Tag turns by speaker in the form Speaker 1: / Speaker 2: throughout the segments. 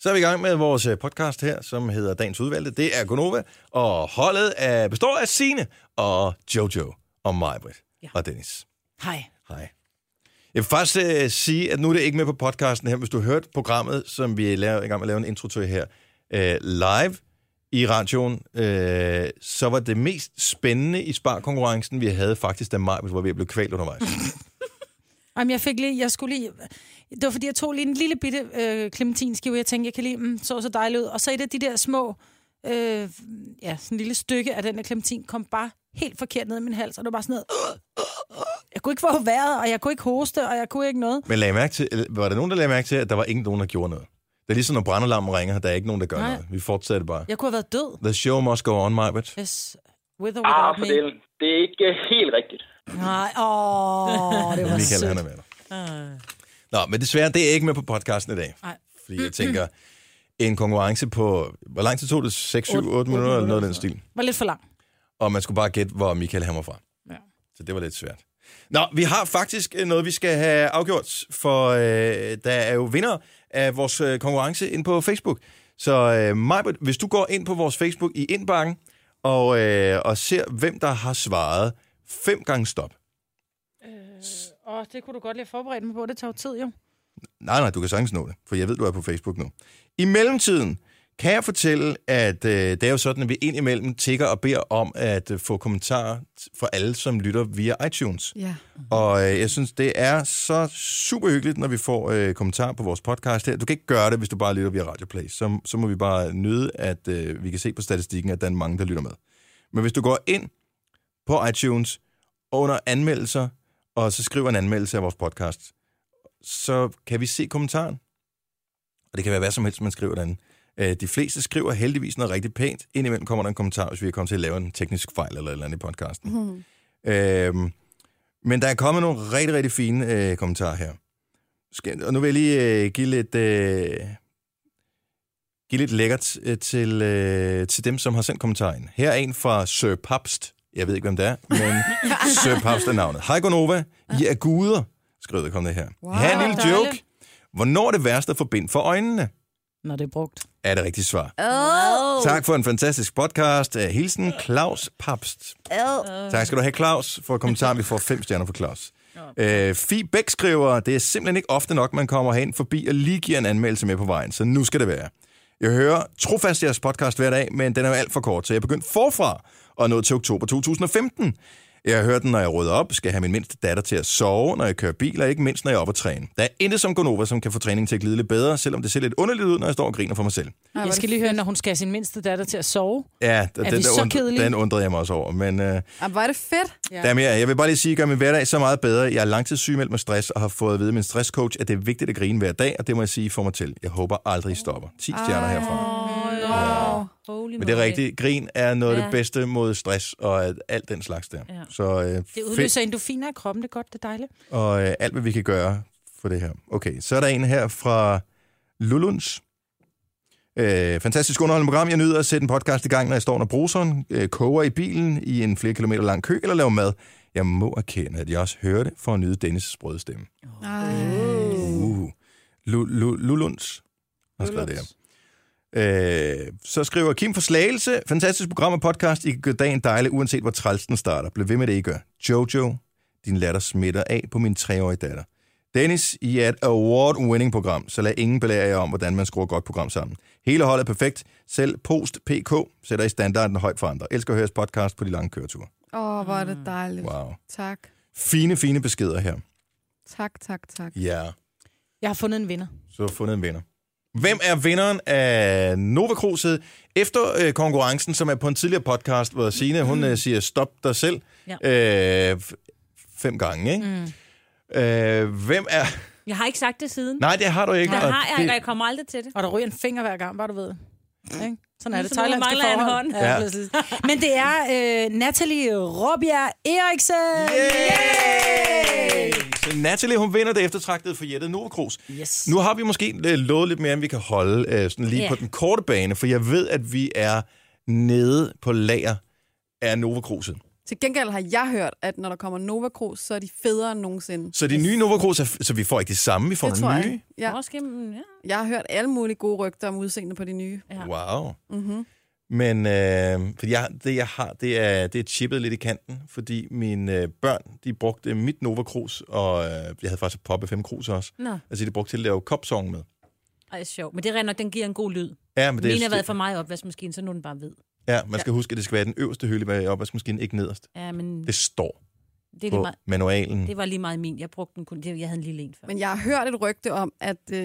Speaker 1: Så er vi i gang med vores øh, podcast her, som hedder Dagens Udvalgte. Det er Gonova, og holdet er, består af Sine og Jojo og Majbrit ja. og Dennis.
Speaker 2: Hej.
Speaker 1: Hej. Jeg vil faktisk øh, sige, at nu er det ikke med på podcasten her. Hvis du hørte programmet, som vi er i gang med at lave en intro til her, øh, live i radioen, øh, så var det mest spændende i sparkonkurrencen, vi havde faktisk, da Majbrit var ved at blive kvalt undervejs.
Speaker 2: Jamen, jeg fik lige, jeg skulle lige, det var fordi, jeg tog lige en lille bitte øh, clementinskive, jeg tænkte, jeg kan lige, mm, så så dejligt ud. Og så et af de der små, øh, ja, sådan en lille stykke af den der clementin, kom bare helt forkert ned i min hals, og det var bare sådan noget, "Øh, jeg kunne ikke få vejret, og jeg kunne ikke hoste, og jeg kunne ikke noget.
Speaker 1: Men lagde mærke til, eller var der nogen, der lagde mærke til, at der var ingen nogen, der gjorde noget? Det er ligesom, når brandalarmen ringer, der er ikke nogen, der gør
Speaker 2: Nej.
Speaker 1: Nej. noget. Vi fortsætter bare.
Speaker 2: Jeg kunne have været død,
Speaker 1: The show must go on, Majbrit.
Speaker 2: hvis with or without
Speaker 3: Ah, for
Speaker 2: me.
Speaker 3: delen. Det er ikke øh, helt rigtigt.
Speaker 2: Nej, åh, det var
Speaker 1: Michael, han
Speaker 2: sødt.
Speaker 1: er med dig. Nå, men desværre, det er ikke med på podcasten i dag.
Speaker 2: Nej.
Speaker 1: Fordi jeg tænker, en konkurrence på... Hvor lang tid tog det? 6, 7, 8
Speaker 2: Otte- otte
Speaker 1: minutter eller noget
Speaker 2: minutter,
Speaker 1: af den stil.
Speaker 2: Var lidt for lang.
Speaker 1: Og man skulle bare gætte, hvor Michael han var fra.
Speaker 2: Ja.
Speaker 1: Så det var lidt svært. Nå, vi har faktisk øh, noget, vi skal have afgjort, for øh, der er jo vinder af vores øh, konkurrence inde på Facebook. Så øh, Majbert, hvis du går ind på vores Facebook i indbakken og, øh, og ser, hvem der har svaret fem gange stop.
Speaker 2: Åh, det kunne du godt lige forberede mig på. Det tager jo tid, jo.
Speaker 1: Nej, nej, du kan sagtens nå det, for jeg ved, du er på Facebook nu. I mellemtiden kan jeg fortælle, at øh, det er jo sådan, at vi indimellem tigger og beder om at øh, få kommentarer t- fra alle, som lytter via iTunes.
Speaker 4: Ja.
Speaker 1: Og øh, jeg synes, det er så super hyggeligt, når vi får øh, kommentarer på vores podcast her. Du kan ikke gøre det, hvis du bare lytter via Radio Play. Så, så må vi bare nyde, at øh, vi kan se på statistikken, at der er mange, der lytter med. Men hvis du går ind på iTunes under anmeldelser, og så skriver en anmeldelse af vores podcast, så kan vi se kommentaren. Og det kan være hvad som helst, man skriver derinde. Øh, De fleste skriver heldigvis noget rigtig pænt. Indimellem kommer der en kommentar, hvis vi er kommet til at lave en teknisk fejl eller et eller andet i podcasten.
Speaker 4: Hmm.
Speaker 1: Øhm, men der er kommet nogle rigtig, rigtig fine øh, kommentarer her. Skal, og nu vil jeg lige øh, give lidt... Øh, give lidt lækkert øh, til, øh, til dem, som har sendt kommentarer ind. Her er en fra Sir Papst. Jeg ved ikke, hvem det er, men Sir Papst er navnet. Hej, Gonova. I er guder, skrev der kom det her. Wow, her er en lille
Speaker 2: dejligt.
Speaker 1: joke. Hvornår er det værste at få bind for øjnene?
Speaker 2: Når det er brugt.
Speaker 1: Er det rigtigt svar.
Speaker 4: Oh.
Speaker 1: Tak for en fantastisk podcast. Øh, Hilsen, Claus Papst.
Speaker 4: Oh.
Speaker 1: Tak skal du have, Claus, for kommentaren. Vi får fem stjerner for Claus. Øh, Fie Bæk skriver, det er simpelthen ikke ofte nok, man kommer hen forbi og lige giver en anmeldelse med på vejen, så nu skal det være. Jeg hører trofast jeres podcast hver dag, men den er jo alt for kort, så jeg begyndte forfra og nåede til oktober 2015. Jeg hører den, når jeg rydder op, skal have min mindste datter til at sove, når jeg kører bil, og ikke mindst, når jeg er oppe at træne. Der er intet som Gonova, som kan få træningen til at glide lidt bedre, selvom det ser lidt underligt ud, når jeg står og griner for mig selv.
Speaker 2: Jeg skal lige høre, når hun skal have sin mindste datter til at sove.
Speaker 1: Ja, den,
Speaker 2: vi
Speaker 1: den,
Speaker 2: så
Speaker 1: der und-
Speaker 2: kedelige?
Speaker 1: den undrede jeg mig også over, men... Øh,
Speaker 4: Jamen, var det fedt.
Speaker 1: Ja. Der er mere. Jeg vil bare lige sige, at jeg gør min hverdag så meget bedre. Jeg er langtidssygemeldt med stress og har fået at vide af min stresscoach, at det er vigtigt at grine hver dag, og det må jeg sige får mig til. Jeg håber aldrig, I stopper. 10 stjerner herfra.
Speaker 2: Åh, oh,
Speaker 1: Men det er rigtigt. Grin er noget af det bedste mod stress og alt- alt den slags der.
Speaker 2: Ja.
Speaker 1: Så øh,
Speaker 2: Det
Speaker 1: fedt,
Speaker 2: udløser endorfiner i kroppen, det er godt, det er dejligt.
Speaker 1: og øh, alt, hvad vi kan gøre for det her. Okay, så er der en her fra Lulunds. Øh, fantastisk underholdende program. Jeg nyder at sætte en podcast i gang, når jeg står under bruseren, øh, koger i bilen i en flere kilometer lang kø eller laver mad. Jeg må erkende, at jeg også hører det for at nyde Dennis' sprøde stemme. Uh. Lu- Lu- Lulunds har skrevet det her. Øh, så skriver Kim for Slagelse, fantastisk program og podcast, I kan gøre dagen dejlig, uanset hvor træls den starter. Bliv ved med det, I gør. Jojo, din latter smitter af på min treårige datter. Dennis, I er et award-winning program, så lad ingen belære jer om, hvordan man skruer et godt program sammen. Hele holdet er perfekt. Selv Post PK sætter I standarden højt for andre. Elsker at høre jeres podcast på de lange køreture.
Speaker 4: Åh, oh, hvor er det dejligt. Wow.
Speaker 1: Mm. Wow.
Speaker 4: Tak.
Speaker 1: Fine, fine beskeder her.
Speaker 4: Tak, tak, tak.
Speaker 1: Ja. Yeah.
Speaker 2: Jeg har fundet en vinder.
Speaker 1: Så har du fundet en vinder. Hvem er vinderen af Nova Cruiset efter øh, konkurrencen, som er på en tidligere podcast, hvor Signe, hun øh, siger, stop dig selv. Ja. Øh, f- fem gange, ikke? Mm. Øh, hvem er...
Speaker 5: Jeg har ikke sagt det siden.
Speaker 1: Nej, det har du ikke.
Speaker 5: Der
Speaker 1: og
Speaker 5: har jeg,
Speaker 1: det-
Speaker 5: ikke, og jeg kommer aldrig til det.
Speaker 2: Og der ryger en finger hver gang, bare du ved. Ikke? Sådan er det.
Speaker 5: Ligesom når man
Speaker 2: Thailandske
Speaker 5: mangler en
Speaker 2: forhold.
Speaker 5: hånd.
Speaker 1: Ja.
Speaker 2: præcis. Men det er øh, Natalie Robjerg Eriksen.
Speaker 1: Yay! Så Natalie, hun vinder det eftertragtede for Jette Novakros.
Speaker 2: Yes.
Speaker 1: Nu har vi måske øh, lovet lidt mere, end vi kan holde øh, sådan lige
Speaker 5: Ja.
Speaker 1: på den korte bane, for jeg ved, at vi er nede på lager af Novakroset.
Speaker 4: Til gengæld har jeg hørt, at når der kommer Nova Cruz, så er de federe end nogensinde.
Speaker 1: Så de nye Nova Cruz, er f- så vi får ikke de samme, vi får
Speaker 4: det tror
Speaker 1: nogle nye?
Speaker 4: jeg. Ja.
Speaker 5: Måske, mm, ja.
Speaker 4: Jeg har hørt alle mulige gode rygter om udseendet på de nye.
Speaker 5: Ja.
Speaker 1: Wow.
Speaker 4: Mm-hmm.
Speaker 1: Men øh, fordi jeg, det, jeg har, det er, det er chippet lidt i kanten, fordi mine øh, børn, de brugte mit Nova Cruz, og øh, jeg havde faktisk et pop af fem krus også.
Speaker 5: Nå,
Speaker 1: Altså, de brugte til at lave kopsong med.
Speaker 5: Ej, det er sjovt. Men det er rent nok, den giver en god lyd.
Speaker 1: Ja, men
Speaker 5: Det
Speaker 1: det
Speaker 5: Min har
Speaker 1: er,
Speaker 5: været for mig i opvaskemaskinen, så nu er den bare hvid.
Speaker 1: ja, man skal huske, at det skal være den øverste hylde bag opvaskemaskinen, ikke nederst.
Speaker 5: Ja, men
Speaker 1: Det
Speaker 5: det,
Speaker 1: står
Speaker 5: det, er lige
Speaker 1: på
Speaker 5: meget,
Speaker 1: manualen.
Speaker 5: det var lige meget min. Jeg brugte den kun. det- Jeg havde en lille en før.
Speaker 4: Men jeg har hørt et rygte om, at øh,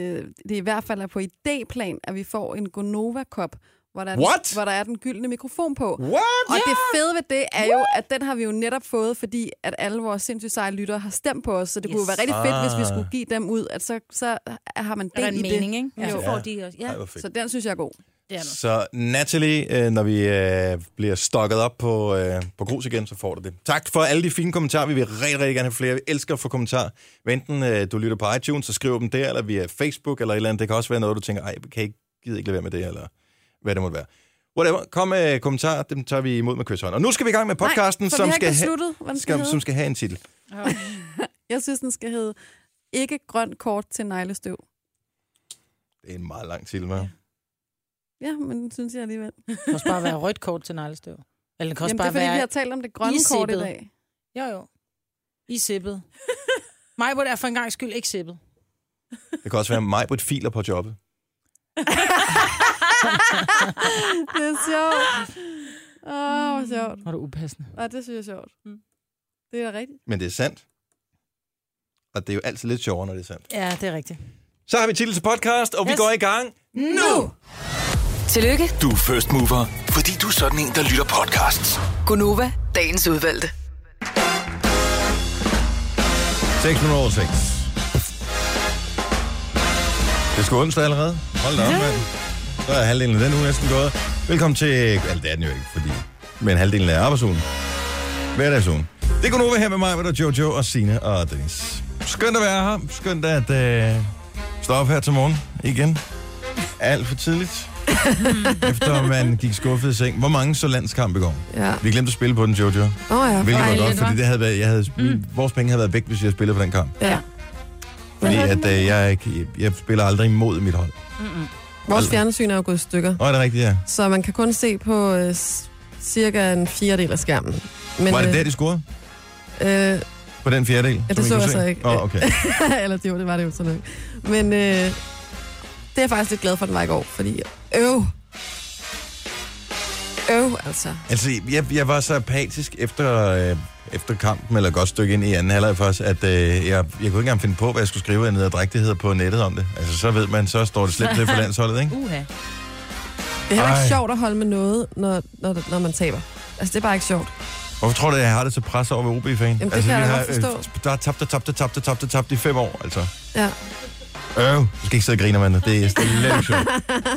Speaker 4: det i hvert fald er på idéplan, at vi får en Gonova-kop, hvor, der er
Speaker 1: What?
Speaker 4: den- hvor der er den gyldne mikrofon på.
Speaker 1: What?
Speaker 4: Og det fede ved det er jo, at den har vi jo netop fået, fordi at alle vores sindssygt seje lyttere har stemt på os, så det yes. kunne jo
Speaker 5: Yes.
Speaker 4: være rigtig fedt, hvis vi
Speaker 1: Ah.
Speaker 4: skulle give dem ud, at så, så har man
Speaker 2: er der
Speaker 4: del i
Speaker 2: en
Speaker 4: det.
Speaker 2: mening, ikke?
Speaker 5: Ja, så
Speaker 4: Jo.
Speaker 5: Altså, får de også. Ja,
Speaker 1: Ej, hvor fedt.
Speaker 4: Så den synes jeg er god.
Speaker 5: det er noget.
Speaker 1: Så Natalie, øh, når vi øh, bliver stokket op på, øh, på grus igen, så får du det. Tak for alle de fine kommentarer. Vi vil rigtig, rigtig gerne have flere. Vi elsker at få kommentarer. Hvad Enten øh, du lytter på iTunes, så skriv dem der, eller via Facebook, eller et eller andet. Det kan også være noget, du tænker, ej, kan jeg ikke, gider ikke lade være med det, eller hvad det måtte være. Whatever. Kom med kommentarer, dem tager vi imod med kysshånd. Og nu skal vi i gang med podcasten,
Speaker 4: Nej, for
Speaker 1: som,
Speaker 4: vi har
Speaker 1: skal
Speaker 4: ikke
Speaker 1: have,
Speaker 4: besluttet, hvad den skal,
Speaker 1: skal,
Speaker 4: hedde.
Speaker 1: som skal have en titel.
Speaker 4: Jeg synes, den skal hedde Ikke grøn kort til neglestøv.
Speaker 1: Det er en meget lang titel, hva'?
Speaker 4: Ja, men den synes jeg alligevel.
Speaker 2: Det kan også bare være rødt kort til neglestøv. Eller det kan også
Speaker 4: Jamen, det er
Speaker 2: bare
Speaker 4: fordi, vi
Speaker 2: være...
Speaker 4: har talt om det grønne
Speaker 2: Isæbet.
Speaker 4: kort i dag.
Speaker 2: Jo, jo. I sippet. Mig er for en gang skyld ikke sippet.
Speaker 1: Det kan også være mig på et filer på jobbet.
Speaker 4: Det er sjovt. Åh, oh, hvor sjovt.
Speaker 2: Var det upassende?
Speaker 4: Ja, det synes jeg er sjovt.
Speaker 5: Mm.
Speaker 4: Det er da rigtigt.
Speaker 1: Men det er sandt. Og det er jo altid lidt sjovere, når det er sandt.
Speaker 2: Ja, det er rigtigt.
Speaker 1: Så har vi titel til podcast, og yes. vi
Speaker 2: Yes.
Speaker 1: går i gang.
Speaker 2: Nu!
Speaker 6: Tillykke,
Speaker 7: Du er first mover, fordi du er sådan en, der lytter podcasts.
Speaker 6: Gunova, dagens udvalgte.
Speaker 1: 6 minutter over 6. Det skal onsdag allerede. Hold da op, mand. Så er halvdelen af den uge næsten gået. Velkommen til... Altså, det er den jo ikke, fordi... Men halvdelen af arbejdsugen. Hverdagsugen. Det kunne nu være her med mig, med der Jojo og Sina og Dennis. Skønt at være her. Skønt at øh, stå op her til morgen igen. Alt for tidligt. Efter man gik skuffet i seng. Hvor mange så landskamp i går?
Speaker 4: Ja.
Speaker 1: Vi glemte at spille på den, Jojo.
Speaker 4: Åh oh, ja.
Speaker 1: Hvilket var
Speaker 4: Ej,
Speaker 1: godt,
Speaker 4: lidt, hva'?
Speaker 1: fordi det havde været, jeg havde, mm. vores penge havde været væk, hvis jeg spillede på den kamp.
Speaker 4: Ja.
Speaker 1: Fordi
Speaker 4: Hvad
Speaker 1: at,
Speaker 4: hedder den?
Speaker 1: øh, jeg, er ikke- jeg, jeg spiller aldrig imod mit hold.
Speaker 4: Vores fjernsyn er jo gået i stykker,
Speaker 1: Nå, er det rigtigt, ja.
Speaker 4: så man kan kun se på øh, s- cirka en fjerdedel af skærmen. Men,
Speaker 1: Men, var det
Speaker 4: øh,
Speaker 1: der, de scorede?
Speaker 4: Øh,
Speaker 1: På den fjerdedel?
Speaker 4: det
Speaker 1: som I
Speaker 4: så
Speaker 1: kunne
Speaker 4: jeg
Speaker 1: se?
Speaker 4: så ikke.
Speaker 1: Åh, oh, okay.
Speaker 4: eller det var, det var det jo sådan noget. Men øh, det er jeg faktisk lidt glad for, at den var i går, fordi øv. Øv, altså.
Speaker 1: altså, jeg, jeg var så apatisk efter, øh, efter kampen, eller et godt stykke ind i anden halvleg først, at øh, jeg, jeg kunne ikke engang finde på, hvad jeg skulle skrive af nederdrægtigheder på nettet om det. Altså, så ved man, så står det slemt til for landsholdet, ikke?
Speaker 5: Uha.
Speaker 4: Det er heller ikke
Speaker 1: Ej.
Speaker 4: sjovt at holde med noget, når, når, når man taber. Altså, det er bare ikke sjovt.
Speaker 1: Hvorfor tror du, jeg har det så pres over ved OB-fan?
Speaker 4: det kan jeg da godt
Speaker 1: Der har tabt og tabt og tabt og tabt og tabt i fem år, altså.
Speaker 4: Ja.
Speaker 1: Øv, du skal ikke sidde og grine, mand. Det er slet ikke sjovt.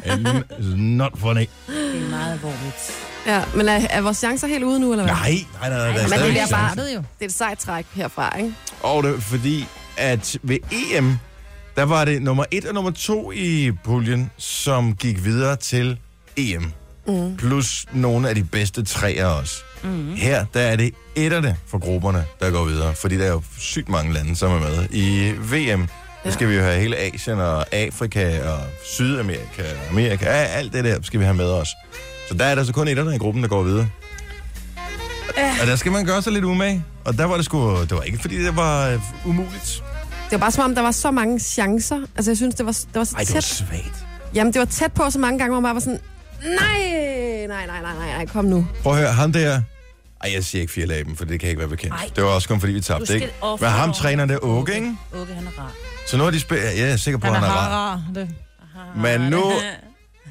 Speaker 1: It's Not funny.
Speaker 5: Det er meget alvorligt.
Speaker 4: Ja, men er, er vores chancer helt ude nu, eller hvad?
Speaker 1: Nej, nej, nej, nej. der er ligesom-
Speaker 4: men
Speaker 1: stadig
Speaker 4: det er
Speaker 1: chance.
Speaker 4: bare-
Speaker 2: startede jo.
Speaker 4: Det er et sejt træk herfra, ikke?
Speaker 1: Og det er fordi, at ved EM, der var det nummer et og nummer to i puljen, som gik videre til EM. Mm. Plus nogle af de bedste træer også. Mm. Her, der er det etterne for grupperne, der går videre. Fordi der er jo sygt mange lande, som er med. I VM, der skal vi jo have hele Asien og Afrika og Sydamerika og Amerika. Ja, alt det der skal vi have med os. Så der er der så kun etterne i gruppen, der går videre. Og der skal man gøre sig lidt umage. Og der var det sgu... Det var ikke, fordi det var øh, umuligt.
Speaker 4: Det var bare som om, der var så mange chancer. Altså, jeg synes, det var, det var så
Speaker 1: Ej, det var
Speaker 4: tæt.
Speaker 1: svagt.
Speaker 4: Jamen, det var tæt på så mange gange, hvor man bare var sådan, nej, nej, nej, nej, nej, nej, kom nu.
Speaker 1: Prå at høre, ham der... Ej, jeg siger ikke fire af dem, for det kan jeg ikke være bekendt. Ej.
Speaker 5: Ej.
Speaker 1: Det var også kun fordi, vi tabte, ikke? Men ham træner der Åke, ikke?
Speaker 5: Åke, han er rar.
Speaker 1: Så nu har de spillet... Ja, jeg er sikker på,
Speaker 2: Han er
Speaker 1: han er rar.
Speaker 2: rar. Det.
Speaker 1: Men nu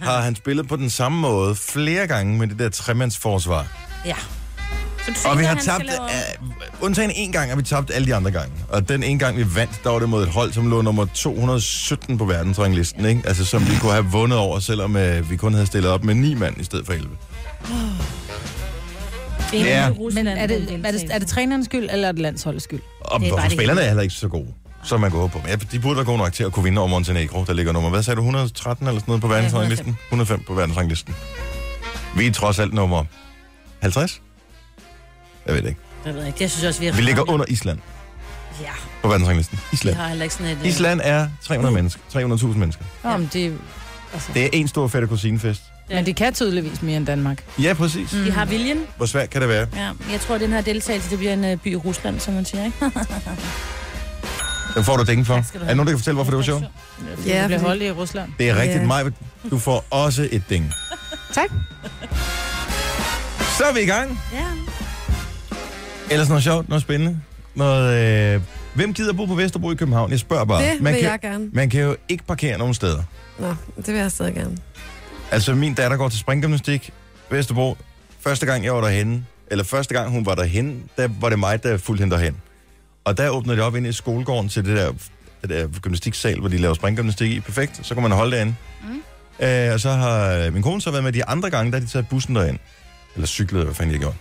Speaker 1: har han spillet på den samme måde flere gange med det der tremandsforsvar.
Speaker 5: Ja. Så du
Speaker 1: Og vi
Speaker 5: tænker,
Speaker 1: har
Speaker 5: han skal
Speaker 1: tabt...
Speaker 5: lave om?
Speaker 1: Uh, undtagen en gang har vi tabt alle de andre gange. Og den ene gang, vi vandt, der var det mod et hold, som lå nummer 217 på verdensranglisten, ikke? Altså, som vi kunne have vundet over, selvom uh, vi kun havde stillet op med ni mand i stedet for 11.
Speaker 5: Inden
Speaker 1: Ja.
Speaker 5: Rusland
Speaker 2: Men er det,
Speaker 5: havde
Speaker 2: er, det, er det trænerens skyld, eller er det landsholdets skyld?
Speaker 1: Og
Speaker 5: Det er
Speaker 1: hvorfor
Speaker 5: bare det
Speaker 1: spillerne er heller ikke så gode, som man går på. Men ja, de burde være gode nok til at kunne vinde over Montenegro, der ligger nummer. Hvad sagde du, 113 eller sådan noget på verdensranglisten? 105 på verdensranglisten. Vi er trods alt nummer 50. Jeg ved det ikke.
Speaker 5: Jeg ved ikke. Jeg synes også, vi er
Speaker 1: Vi ligger
Speaker 5: ramt.
Speaker 1: under Island
Speaker 5: Ja,
Speaker 1: på verdensranglisten.
Speaker 5: vi
Speaker 1: Island.
Speaker 5: har heller ikke sådan et... øh,
Speaker 1: Island er 300 mennesker. 300.000 mennesker.
Speaker 8: Jamen, det, altså,
Speaker 1: Det er en stor fætter kusinefest.
Speaker 8: Men det kan tydeligvis mere end Danmark.
Speaker 1: Ja, præcis.
Speaker 5: Vi har viljen.
Speaker 1: Hvor svært kan det være?
Speaker 5: Ja, jeg tror, at den her deltagelse, det bliver en øh, by i Rusland, som man siger, ikke?
Speaker 1: Den får du dækken for.
Speaker 5: Tak skal
Speaker 1: Er
Speaker 5: du
Speaker 1: der nogen, der kan fortælle, hvorfor det var sjovt?
Speaker 4: Ja,
Speaker 2: Ja, bliver
Speaker 4: fordi-
Speaker 2: holdt i Rusland.
Speaker 1: Det er rigtigt,
Speaker 4: Ja.
Speaker 1: Maj. Du får også et ding.
Speaker 8: Tak.
Speaker 1: Så er vi i gang.
Speaker 5: Ja.
Speaker 1: Ellers noget sjovt, noget spændende. Noget, øh... Hvem gider bo på Vesterbro i København? Jeg spørger bare.
Speaker 4: Det
Speaker 1: man,
Speaker 4: vil
Speaker 1: kan,
Speaker 4: jeg gerne.
Speaker 1: man kan jo ikke parkere nogen steder.
Speaker 4: Nå, det vil jeg stadig gerne.
Speaker 1: Altså, min datter går til springgymnastik, Vesterbro. Første gang, jeg var derhenne, eller første gang, hun var derhen, der var det mig, der fulgte hende derhen. Og der åbnede det op ind i skolegården til det der, det der gymnastiksal, hvor de laver springgymnastik i. Perfekt. Så kan man holde derinde. Mm. Øh, og så har min kone så været med de andre gange, der har de taget bussen derhen. Eller cyklet, hvad fanden jeg gjorde.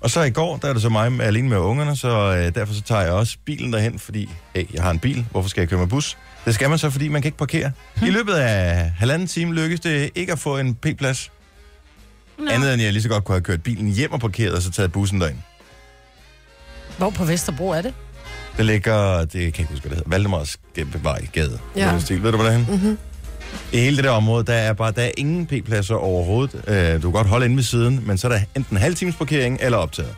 Speaker 1: Og så i går, der er det så mig med- alene med ungerne, så øh, derfor så tager jeg også bilen derhen, fordi hey, jeg har en bil, hvorfor skal jeg køre med bus? Det skal man så, fordi man kan ikke parkere. I løbet af halvanden time lykkedes det ikke at få en p-plads. No. Andet end jeg lige så godt kunne have kørt bilen hjem og parkeret, og så taget bussen derind.
Speaker 8: Hvor på Vesterbro er det?
Speaker 1: Det ligger, det kan jeg ikke huske, hvad det hedder, Valdemars Vejgade.
Speaker 4: Ja.
Speaker 1: Ja. Stil. Ved du, hvor det er mm-hmm. I hele det der område, der er bare der er ingen p-pladser overhovedet. Øh, du kan godt holde inde ved siden, men så er der enten halv times parkering eller optaget.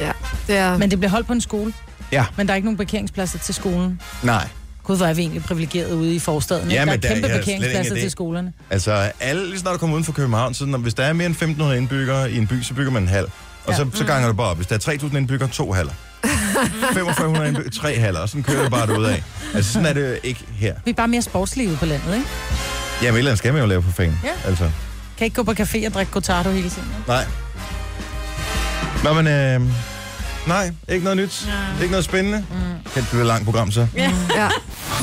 Speaker 4: Ja, det er...
Speaker 2: Men det bliver holdt på en skole.
Speaker 1: Ja.
Speaker 2: Men der er ikke nogen parkeringspladser til skolen.
Speaker 1: Nej.
Speaker 2: Gud, hvor er vi egentlig privilegeret ude i forstaden. ikke?
Speaker 1: Ja,
Speaker 2: der er
Speaker 1: men
Speaker 2: kæmpe
Speaker 1: der- jeg har slet
Speaker 2: parkeringspladser
Speaker 1: ingen idé.
Speaker 2: til skolerne.
Speaker 1: Altså, alle, lige snart du kommer uden for København, så når, hvis der er mere end 1.500 indbyggere i en by, så bygger man en hal. Og ja. så, så ganger du bare op. Hvis der er 3.000 indbyggere, to haller. 4.500 indbyggere, tre haller. Og sådan kører det bare ud af. Altså, sådan er det jo ikke her.
Speaker 2: Vi er bare mere sportslige ude på landet, ikke?
Speaker 1: Jamen, et eller andet skal man jo lave for fanden.
Speaker 2: Ja.
Speaker 1: Altså,
Speaker 2: Kan ikke gå på café og drikke Gotardo hele tiden. ikke?
Speaker 1: nej. Nå, men øh, nej, ikke noget nyt. Ja. Ikke noget spændende. Mm. Kan det blive et langt program, så? Ja.
Speaker 4: Ja.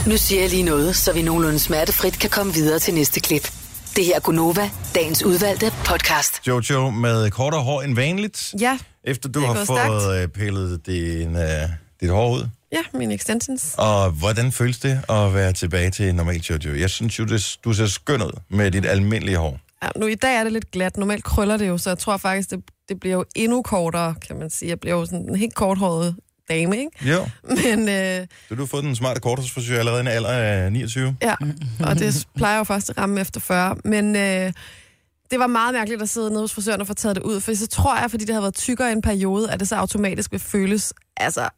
Speaker 6: Nu siger jeg lige noget, så vi nogenlunde smertefrit kan komme videre til næste klip. Det her er Gunova, dagens udvalgte podcast.
Speaker 1: Jojo med kortere hår end vanligt.
Speaker 4: ja,
Speaker 1: Efter du
Speaker 4: Det er
Speaker 1: har
Speaker 4: gået stærkt.
Speaker 1: fået øh, pillet din, øh, dit hår ud.
Speaker 4: ja, mine extensions.
Speaker 1: Og hvordan føles det at være tilbage til normal Jojo? Jeg synes jo, det, du ser skøn ud med dit almindelige hår.
Speaker 4: Ja, nu i dag er det lidt glat. Normalt krøller det jo, så jeg tror faktisk, det, det bliver jo endnu kortere, kan man sige. Jeg bliver jo sådan en helt korthåret dame, ikke?
Speaker 1: Jo.
Speaker 4: Men øh,
Speaker 1: Så du har fået den smarte korthårsfrisyr allerede i en alder af 29.
Speaker 4: ja, og det plejer jo først at ramme efter 40. Men øh, det var meget mærkeligt at sidde nede hos frisøren og få taget det ud, for så tror jeg, fordi det havde været tykkere i en periode, at det så automatisk vil føles altså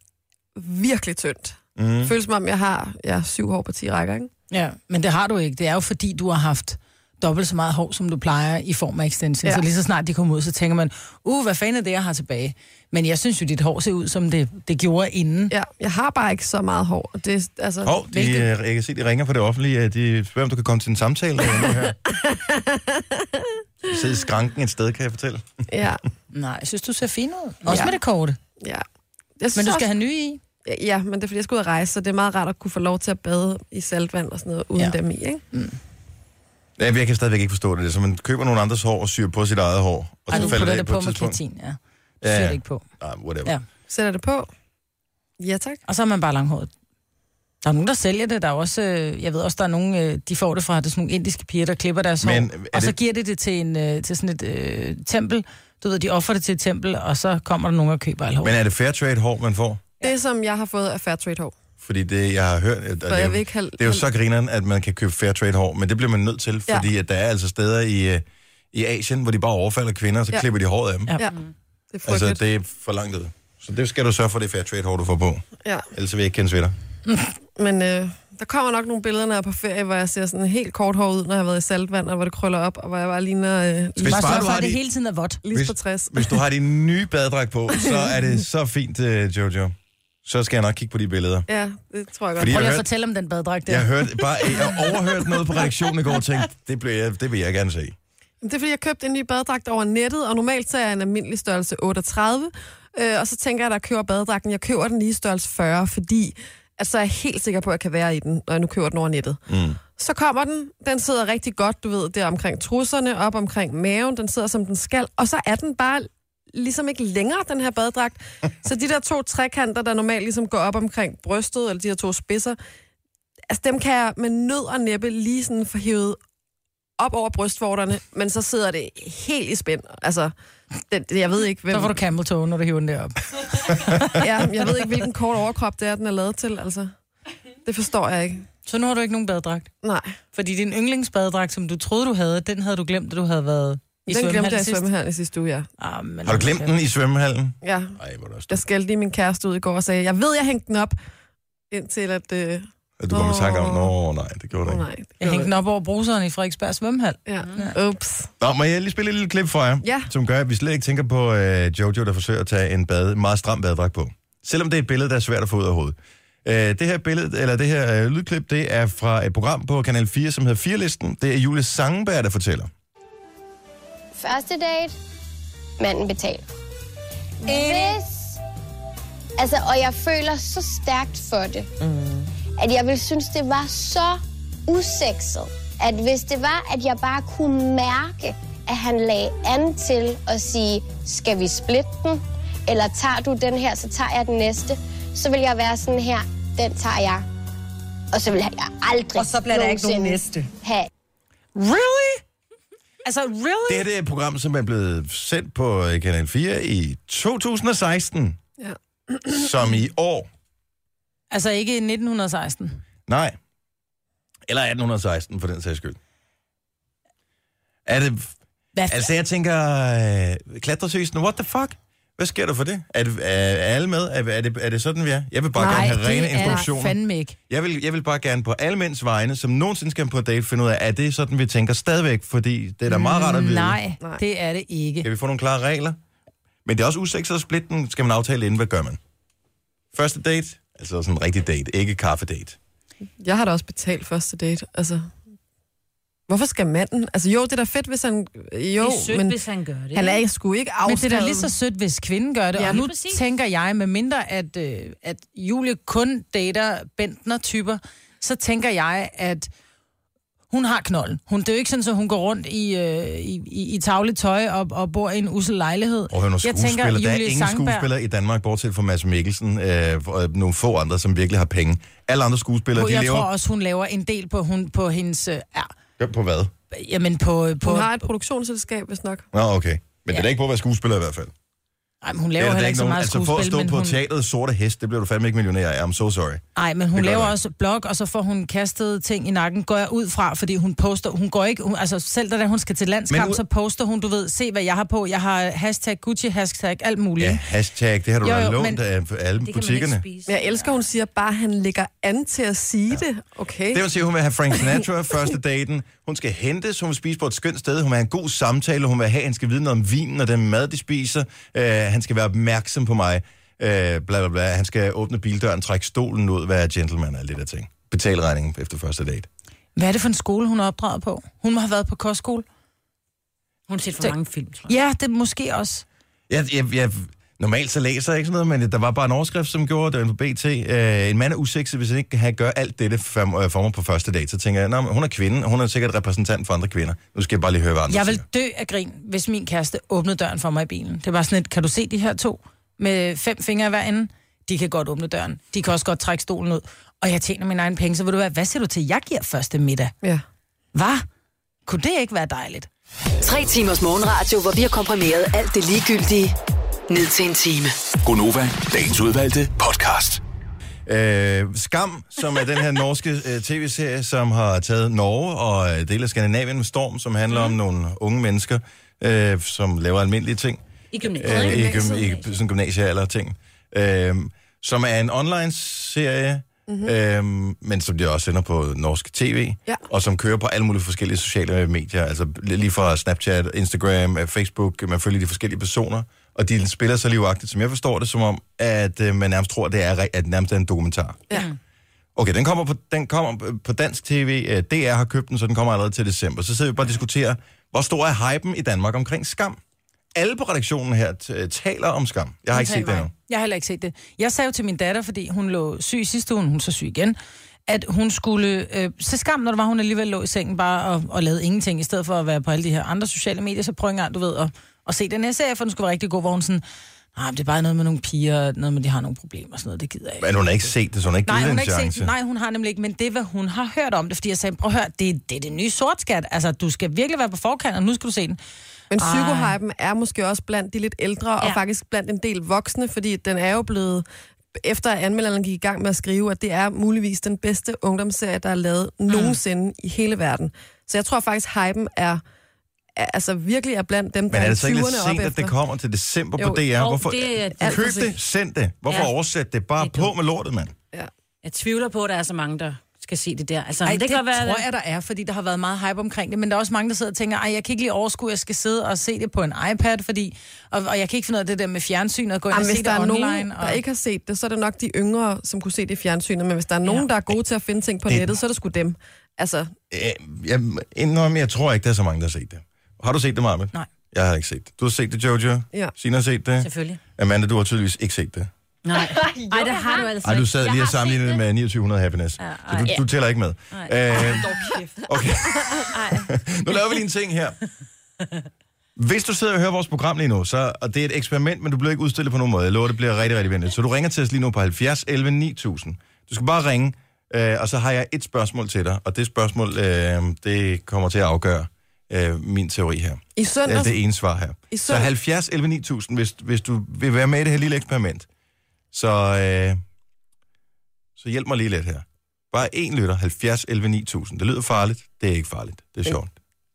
Speaker 4: virkelig tyndt.
Speaker 1: Mm.
Speaker 4: Mm. Føles som om, jeg har ja, syv hår på ti rækker, ikke?
Speaker 8: Ja, men det har du ikke. Det er jo fordi, du har haft dobbelt så meget hår, som du plejer i form af extension. Ja.
Speaker 4: Ja.
Speaker 8: Så lige så snart de kommer ud, så tænker man, uh, hvad fanden er det, jeg har tilbage? Men jeg synes jo, dit hår ser ud, som det, det gjorde inden.
Speaker 4: Ja, jeg har bare ikke så meget hår. og Det, er- altså,
Speaker 1: Hov, de,
Speaker 4: hvilket-
Speaker 1: øh, jeg kan se, de ringer fra det offentlige. øh, De spørger, om du kan komme til en samtale. øh, nu her. Sid i skranken et sted, kan jeg fortælle.
Speaker 4: Ja,
Speaker 8: Nej, jeg synes, du ser fin ud. Også
Speaker 4: Ja.
Speaker 8: med det korte.
Speaker 4: ja. Jeg synes
Speaker 8: Men du
Speaker 4: også-
Speaker 8: skal have nye i.
Speaker 4: Ja, men det er fordi, jeg skal ud og rejse, så det er meget rart at kunne få lov til at bade i saltvand og sådan noget, uden
Speaker 8: Ja.
Speaker 4: ja. dem i, ikke?
Speaker 1: Ja, men jeg kan stadigvæk ikke forstå det. Det er, som man køber nogen andres hår og syr på sit eget hår. Og
Speaker 8: Ej, du putter det på, med
Speaker 1: tidspunkt.
Speaker 8: platin, ja. Du
Speaker 1: Ja,
Speaker 8: ja.
Speaker 1: ja.
Speaker 8: ser det ikke på.
Speaker 1: Nej, whatever.
Speaker 8: Ja.
Speaker 1: Ja.
Speaker 4: Sætter det på? Ja, tak.
Speaker 8: Og så er man bare langhåret. Der er nogen, der sælger det. Der er også, øh, jeg ved også, der er nogen, øh, de får det fra, det er sådan nogle indiske piger, der klipper deres
Speaker 1: Men
Speaker 8: Men,
Speaker 1: er
Speaker 8: hår. Og så
Speaker 1: det-
Speaker 8: giver de det til, en, øh, til sådan et øh, tempel. Du ved, de offer det til et tempel, og så kommer der nogen og køber alt hår.
Speaker 1: Men er det fair trade hår, man får?
Speaker 4: Det, som jeg har fået, er Fairtrade hår.
Speaker 1: Fordi det, jeg har hørt... At,
Speaker 4: For jeg vil ikke have...
Speaker 1: Det er jo så grineren, at man kan købe fair trade hår, men det bliver man nødt til,
Speaker 4: Ja.
Speaker 1: fordi at der er altså steder i, øh, i Asien, hvor de bare overfalder kvinder, og så ja.
Speaker 4: Ja.
Speaker 1: klipper de håret af dem. Ja.
Speaker 8: Ja.
Speaker 4: Ja, det er frygteligt.
Speaker 1: Altså,
Speaker 4: Altså, det...
Speaker 1: det er for langt ud. Så det skal du sørge for, det er fair trade hår, du får på.
Speaker 4: Ja,
Speaker 1: Ellers vil jeg ikke kendes ved dig.
Speaker 4: men øh, der kommer nok nogle billeder, når jeg er på ferie, hvor jeg ser sådan helt kort hår ud, når jeg har været i saltvand, og hvor det krøller op, og hvor jeg bare ligner øh,
Speaker 1: Hvis
Speaker 8: Bare
Speaker 1: bare
Speaker 8: sørg
Speaker 1: du
Speaker 8: for,
Speaker 1: har
Speaker 8: at det
Speaker 1: de-
Speaker 8: hele tiden er vådt.
Speaker 4: lige på 60.
Speaker 1: Hvis du har din nye baddrag på, så er det så fint, øh, Jojo. Så skal jeg nok kigge på de billeder.
Speaker 4: Ja, det tror jeg
Speaker 8: Prøv
Speaker 1: Fordi
Speaker 4: godt.
Speaker 1: jeg
Speaker 8: lige at
Speaker 1: hørte,
Speaker 8: fortælle om den baddragt der.
Speaker 1: jeg hørte bare, jeg overhørte noget på reaktionen i går og tænkte, det, blev jeg, det vil jeg gerne se.
Speaker 4: Jamen, Det er fordi, jeg købte en ny badedragt over nettet, og normalt så er jeg en almindelig størrelse 38. Øh, og så tænker jeg, at jeg køber badedragten. Jeg køber den lige i størrelse 40, fordi at så er jeg helt sikker på, at jeg kan være i den, når jeg nu køber den over nettet. Mm. Så kommer den. Den sidder rigtig godt, du ved, der omkring trusserne, op omkring maven. Den sidder, som den skal. Og så er den bare ligesom ikke længere, den her badedragt. Så de der to trekanter, der normalt ligesom går op omkring brystet, eller de her to spidser, altså dem kan jeg med nød og næppe lige sådan få hævet op over brystvorterne, men så sidder det helt i spænd. Altså, den, jeg ved ikke, hvem...
Speaker 8: Så får du Campbell-tågen, når du hiver den derop.
Speaker 4: ja, jeg ved ikke, hvilken kort overkrop det er, den er lavet til, altså. Det forstår jeg ikke.
Speaker 8: Så nu har du ikke nogen badedragt.
Speaker 4: Nej,
Speaker 8: Fordi din yndlingsbadedragt, som du troede, du havde, den havde du glemt, da du havde været i
Speaker 4: den glemte jeg i
Speaker 8: sidst.
Speaker 4: svømmehallen i sidste uge, ja.
Speaker 8: Ah, men
Speaker 1: Har du glemt den i svømmehallen?
Speaker 4: ja.
Speaker 1: Nej, hvor er det
Speaker 4: Jeg skældte lige min kæreste ud i går og sagde, jeg ved, jeg hængte den op, indtil at... Øh,
Speaker 1: Og du kom i tanke om,
Speaker 4: Nå.
Speaker 1: nå nej, det gjorde det
Speaker 4: oh,
Speaker 1: ikke.
Speaker 4: nej, det
Speaker 8: Jeg
Speaker 4: gjorde
Speaker 8: hængte den op over bruseren i Frederiksberg svømmehal.
Speaker 4: jeg. Ja. Ups.
Speaker 1: Nå, må jeg lige spille et lille klip for jer,
Speaker 4: Ja.
Speaker 1: som gør, at vi slet ikke tænker på øh, Jojo, der forsøger at tage en bad, meget stram badedragt på. Selvom det er et billede, der er svært at få ud af hovedet. Øh, det her billede, eller det her øh, lydklip, det er fra et program på Kanal 4, som hedder 4-listen. Det er Julie Sangenberg, der fortæller.
Speaker 9: Første date, manden betaler. Hvis... Altså, og jeg føler så stærkt for det, mm. at jeg ville synes, det var så usekset, at hvis det var, at jeg bare kunne mærke, at han lagde an til at sige, skal vi splitte den, eller tager du den her, så tager jeg den næste, så vil jeg være sådan her, den tager jeg. Og så vil jeg aldrig Og så bliver der ikke nogen næste. Have
Speaker 8: Really? Altså, really?
Speaker 1: Det her det er et program, som er blevet sendt på øh, Kanal 4 i 2016,
Speaker 4: Ja.
Speaker 1: som i år.
Speaker 8: Altså ikke i 1916.
Speaker 1: Nej. Eller 1816, for den sags skyld. Er det...
Speaker 8: Hvad
Speaker 1: Altså, jeg tænker... Øh, klatresøsen, what the fuck? Hvad sker der for det? Er, det, er, er alle med? Er, er, det, er det sådan, vi er? Jeg vil bare
Speaker 8: Nej,
Speaker 1: gerne have rene
Speaker 8: det er
Speaker 1: instruktioner.
Speaker 8: fandme ikke.
Speaker 1: Jeg vil, jeg vil bare gerne på alle mænds vegne, som nogensinde skal på date, finde ud af, er det sådan, vi tænker stadigvæk? Fordi det er da meget rart at vide.
Speaker 8: Nej,
Speaker 4: Nej.
Speaker 8: det er det ikke.
Speaker 1: Kan vi få nogle klare regler? Men det er også usikset at splitte den. Skal man aftale inden, hvad gør man? Første date, altså sådan en rigtig date, ikke kaffedate.
Speaker 4: Jeg har da også betalt første date, altså... Hvorfor skal manden? Altså jo, det er da fedt, hvis han... øh, Jo,
Speaker 5: det er sødt,
Speaker 4: men
Speaker 5: hvis han gør det.
Speaker 4: han er ikke sgu ikke
Speaker 8: Men
Speaker 4: afskrevet.
Speaker 8: det er da lige så sødt, hvis kvinden gør det.
Speaker 4: Ja,
Speaker 8: Ja, og nu
Speaker 5: lige præcis.
Speaker 8: tænker jeg, med mindre at, øh, at Julie kun dater Bentner-typer, så tænker jeg, at hun har knolden. Hun, det er jo ikke sådan, at hun går rundt i, øh, i, i, i tagligt tøj og, og bor i en usel lejlighed.
Speaker 1: Og hør nogle skuespillere. Der er ingen
Speaker 8: Sangberg-
Speaker 1: skuespillere i Danmark, bortset fra Mads Mikkelsen øh, og nogle få andre, som virkelig har penge. Alle andre skuespillere,
Speaker 8: Hun,
Speaker 1: de
Speaker 8: jeg
Speaker 1: lever
Speaker 8: tror også, hun laver en del på, hun, på hendes... Øh, ja,
Speaker 1: Gør på hvad?
Speaker 8: jamen på... på
Speaker 4: Hun har et produktionsselskab, hvis nok.
Speaker 1: Nå, okay. Men ja. det er da ikke på at være skuespiller i hvert fald.
Speaker 8: ej, men hun
Speaker 1: Det
Speaker 8: laver
Speaker 1: er der da
Speaker 8: heller
Speaker 1: ikke
Speaker 8: ikke så meget
Speaker 1: altså for at
Speaker 8: skuespil,
Speaker 1: stå
Speaker 8: men
Speaker 1: på
Speaker 8: hun... Mm.
Speaker 1: teateret Sorte Hest, det bliver du fandme ikke millionær af. I'm so sorry.
Speaker 8: Nej, men hun
Speaker 1: Det gør
Speaker 8: laver
Speaker 1: der.
Speaker 8: også blog, og så får hun kastet ting i nakken, går jeg ud fra, fordi hun poster, hun går ikke, hun, altså selv da hun skal til landskamp,
Speaker 1: Men ud-
Speaker 8: så poster hun, du ved, se hvad jeg har på, jeg har hashtag Gucci, hashtag alt muligt.
Speaker 1: Ja,
Speaker 8: Ja.
Speaker 1: hashtag, det har du
Speaker 8: Jo,
Speaker 1: da
Speaker 8: jo,
Speaker 1: lånt
Speaker 8: men-
Speaker 1: af alle
Speaker 5: Det kan man ikke
Speaker 1: butikkerne.
Speaker 5: spise.
Speaker 4: Men jeg elsker, hun siger bare, at han ligger an til at sige ja. det. Okay.
Speaker 1: Det vil sige, at hun vil have Frank Sinatra første daten. Hun skal hentes, hun vil spise på et skønt sted, hun vil have en god samtale, hun vil have, han skal vide noget om vinen og den mad, de spiser. Uh, han skal være opmærksom på mig. Uh, bla, bla, bla. Han skal åbne bildøren, trække stolen ud, være gentleman og alle de der ting. Betal regningen efter første date.
Speaker 8: Hvad er det for en skole, hun er opdraget på? Hun må have været på kostskole.
Speaker 5: Hun har set for mange film, tror jeg.
Speaker 8: Ja, det måske også.
Speaker 1: Jeg, jeg, jeg, normalt så læser jeg ikke sådan noget, men der var bare en overskrift, som gjorde, det var på BT. Øh, en mand er usikset, hvis han ikke kan gøre alt dette for, øh, for mig på første date. Så tænker jeg, "Nå, men hun er kvinde, og hun er sikkert repræsentant for andre kvinder. Nu skal jeg bare lige høre, hvad andre
Speaker 8: Jeg vil
Speaker 1: siger.
Speaker 8: dø af grin, hvis min kæreste åbnede døren for mig i bilen. Det var sådan et, kan du se de her to med fem fingre i hver ende? De kan godt åbne døren. De kan også godt trække stolen ud. Og jeg tjener min egen penge, så vil du være, hvad siger du til, jeg giver første middag?
Speaker 4: Ja.
Speaker 8: Hvad? Kunne det ikke være dejligt?
Speaker 6: Tre timers morgenradio, hvor vi har komprimeret alt det ligegyldige ned til en time.
Speaker 7: Gonova, dagens udvalgte podcast.
Speaker 1: Øh, Skam, som er den her norske øh, tv-serie, som har taget Norge og øh, dele af Skandinavien med storm, som handler
Speaker 8: Mhm.
Speaker 1: om nogle unge mennesker, øh, som laver almindelige ting.
Speaker 5: I gymnasiet.
Speaker 1: øh, i, gym, i sådan gymnasie eller ting, øh, som er en online-serie,
Speaker 5: Mhm.
Speaker 1: mm-hmm. øh, men som de også sender på norsk tv,
Speaker 4: Ja.
Speaker 1: og som kører på alle mulige forskellige sociale medier, altså lige fra Snapchat, Instagram, øh, Facebook, man følger de forskellige personer, og de spiller så livagtigt, som jeg forstår det, som om, at øh, man nærmest tror, det er, re- at det nærmest er en dokumentar.
Speaker 4: Ja.
Speaker 1: Okay, den kommer, på, den kommer på dansk tv. Øh, DR har købt den, så den kommer allerede til december. Så sidder vi bare og diskuterer, hvor stor er hypen i Danmark omkring skam? Alle på redaktionen her t- øh, taler om skam. Jeg har ikke set det endnu.
Speaker 8: Jeg har heller ikke set det. Jeg sagde jo til min datter, fordi hun lå syg sidste uge, hun er så syg igen, at hun skulle øh, se skam, når det var, hun alligevel lå i sengen bare og, og lavede ingenting, i stedet for at være på alle de her andre sociale medier, så prøv engang, du ved, at, at se den her serie, for den skulle være rigtig god, hvor hun sådan, Nej, det er bare noget med nogle piger, noget med, de har nogle problemer og sådan noget, det gider jeg ikke.
Speaker 1: Men hun har ikke set det, så hun har ikke
Speaker 8: Nej,
Speaker 1: givet
Speaker 8: hun
Speaker 1: det
Speaker 8: har
Speaker 1: en
Speaker 8: ikke set,
Speaker 1: chance.
Speaker 8: den. nej, hun har nemlig ikke, men det er, hvad hun har hørt om det, fordi jeg sagde, prøv at høre, det, det er det nye sortskat. Altså, du skal virkelig være på forkant, og nu skal du se den.
Speaker 4: Men psykohypen er måske også blandt de lidt ældre, ja. og
Speaker 8: Ja.
Speaker 4: faktisk blandt en del voksne, fordi den er jo blevet, efter at anmelderen gik i gang med at skrive, at det er muligvis den bedste ungdomsserie, der er lavet nogensinde i hele verden. Så jeg tror faktisk, hypen er, er altså virkelig er blandt dem, der
Speaker 1: Men er
Speaker 4: er i
Speaker 1: det så ikke
Speaker 4: 20'erne
Speaker 1: lidt
Speaker 4: op
Speaker 1: sent, at
Speaker 4: efter.
Speaker 1: det kommer til december
Speaker 4: Jo,
Speaker 1: på DR?
Speaker 5: jo,
Speaker 1: Hvorfor?
Speaker 5: det er- det er
Speaker 1: Køb
Speaker 5: for
Speaker 1: det,
Speaker 5: sent.
Speaker 1: send det. Hvorfor
Speaker 5: Ja.
Speaker 1: oversætte det? Bare
Speaker 5: Det er
Speaker 1: på
Speaker 5: dumt.
Speaker 1: med lortet, mand.
Speaker 4: Ja.
Speaker 5: Jeg tvivler på, at der er så mange, der skal se det der. Altså,
Speaker 8: Ej,
Speaker 5: men
Speaker 8: det, det
Speaker 5: kan være,
Speaker 8: tror jeg, der er, fordi der har været meget hype omkring det, men der er også mange, der sidder og tænker, ej, jeg kan ikke lige overskue, jeg skal sidde og se det på en iPad, fordi, og, og jeg kan ikke finde ud af det der med fjernsyn og gå ind
Speaker 4: Jamen,
Speaker 8: og se
Speaker 4: hvis
Speaker 8: det
Speaker 4: der er
Speaker 8: online.
Speaker 4: nogen, der
Speaker 8: og...
Speaker 4: ikke har set det, så er det nok de yngre, som kunne se det i fjernsynet. Men hvis der er nogen, ja. der er gode til at finde ting på
Speaker 1: Det-
Speaker 4: nettet, så er det sgu dem. Altså,
Speaker 1: Øh, Jeg indrømmer, jeg tror ikke, der er så mange, der har set det. Har du set det, Marve?
Speaker 8: Nej.
Speaker 1: Jeg har ikke set det. Du har set det, Jojo?
Speaker 4: Ja.
Speaker 1: Sina har set det?
Speaker 5: Selvfølgelig.
Speaker 1: Amanda, du har tydeligvis ikke set det.
Speaker 5: Nej, ej, det har du altså
Speaker 1: Ej, du
Speaker 5: ikke.
Speaker 1: sad lige og sammenlignede det med 2900 Happiness. Ja, så du, du tæller ikke med. Øh, okay. nu laver vi lige en ting her. Hvis du sidder og hører vores program lige nu, så, og det er et eksperiment, men du bliver ikke udstillet på nogen måde. Jeg lover, det bliver rigtig, rigtig venligt. Så du ringer til os lige nu på 70 11 9000. Du skal bare ringe, øh, og så har jeg et spørgsmål til dig. Og det spørgsmål, øh, det kommer til at afgøre øh, min teori her.
Speaker 4: i
Speaker 1: Det er
Speaker 4: søndags,
Speaker 1: det ene svar her.
Speaker 4: I
Speaker 1: Så
Speaker 4: søndag-
Speaker 1: 70 11 9000, hvis, hvis du vil være med i det her lille eksperiment. Så, øh, så hjælp mig lige lidt her. Bare én lytter, 70 11 9000. Det lyder farligt. Det er ikke farligt. Det er sjovt.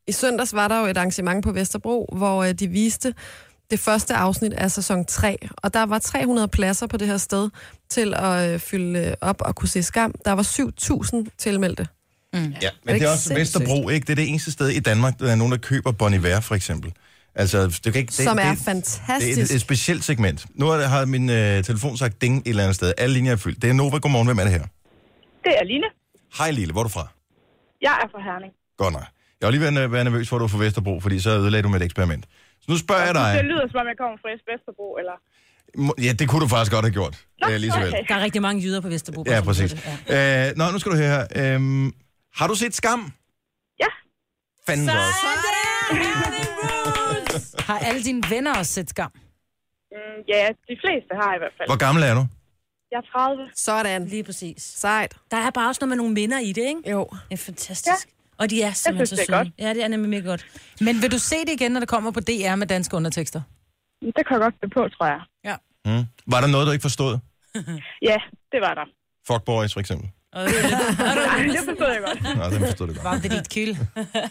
Speaker 4: I søndags var der jo et arrangement på Vesterbro, hvor øh, de viste det første afsnit af sæson 3, og der var 300 pladser på det her sted til at øh, fylde op og kunne se skam. Der var 7.000 tilmeldte.
Speaker 1: Ja,
Speaker 4: er
Speaker 1: men det
Speaker 4: ikke
Speaker 1: er også
Speaker 4: sindssygt?
Speaker 1: Vesterbro, ikke? Det er det eneste sted i Danmark, der er nogen, der køber Bon Iver, for eksempel. Altså, det kan ikke... Det,
Speaker 4: Som er
Speaker 1: det,
Speaker 4: fantastisk.
Speaker 1: Det er et, et specielt segment. Nu har har min øh, telefon sagt ding et eller andet sted. Alle linjer er fyldt. Det er Nova. Godmorgen. Hvem er det her?
Speaker 10: Det er Line.
Speaker 1: Hej Lille, hvor er du fra?
Speaker 10: Jeg er fra Herning.
Speaker 1: Godt nok. Jeg var lige ved at øh, være nervøs for, at du var fra Vesterbro, fordi så ødelagde du med et eksperiment. Så nu spørger jeg
Speaker 10: Det
Speaker 1: dig.
Speaker 10: lyder, som om jeg kommer fra Vesterbro, eller...
Speaker 1: Må- Ja, det kunne du faktisk godt have gjort, øh, Elisabeth.
Speaker 10: okay.
Speaker 5: Der er rigtig mange jyder på Vesterbro. bare
Speaker 1: Ja,
Speaker 5: så du
Speaker 1: præcis.
Speaker 5: ved det. Ja.
Speaker 1: Øh, nå, nu skal du høre her. Øhm, har du set Skam?
Speaker 10: Ja,
Speaker 1: Fanden også.
Speaker 8: Har alle dine venner også set skam?
Speaker 10: mm, ja, de fleste har i hvert fald.
Speaker 1: Hvor gammel er du?
Speaker 10: Jeg er 30.
Speaker 4: Sådan.
Speaker 5: Lige præcis.
Speaker 4: Sejt.
Speaker 5: Der er bare også noget med nogle minder i det, ikke?
Speaker 4: Jo.
Speaker 5: Ja, fantastisk. Og de er simpelthen
Speaker 10: synes,
Speaker 5: så
Speaker 10: det er
Speaker 5: søde.
Speaker 10: godt.
Speaker 5: Ja, det er nemlig mega godt.
Speaker 8: Men vil du se det igen, når det kommer på DR med danske undertekster?
Speaker 10: Det kan jeg godt blive på, tror jeg.
Speaker 1: Mm. Var der noget, du ikke forstod?
Speaker 10: Ja, det var der.
Speaker 1: Fuck boys, for eksempel.
Speaker 5: Og det er
Speaker 10: Ej, det forstod jeg godt.
Speaker 1: Nå, den forstod det godt.
Speaker 8: Var det dit kyl?
Speaker 5: lidt-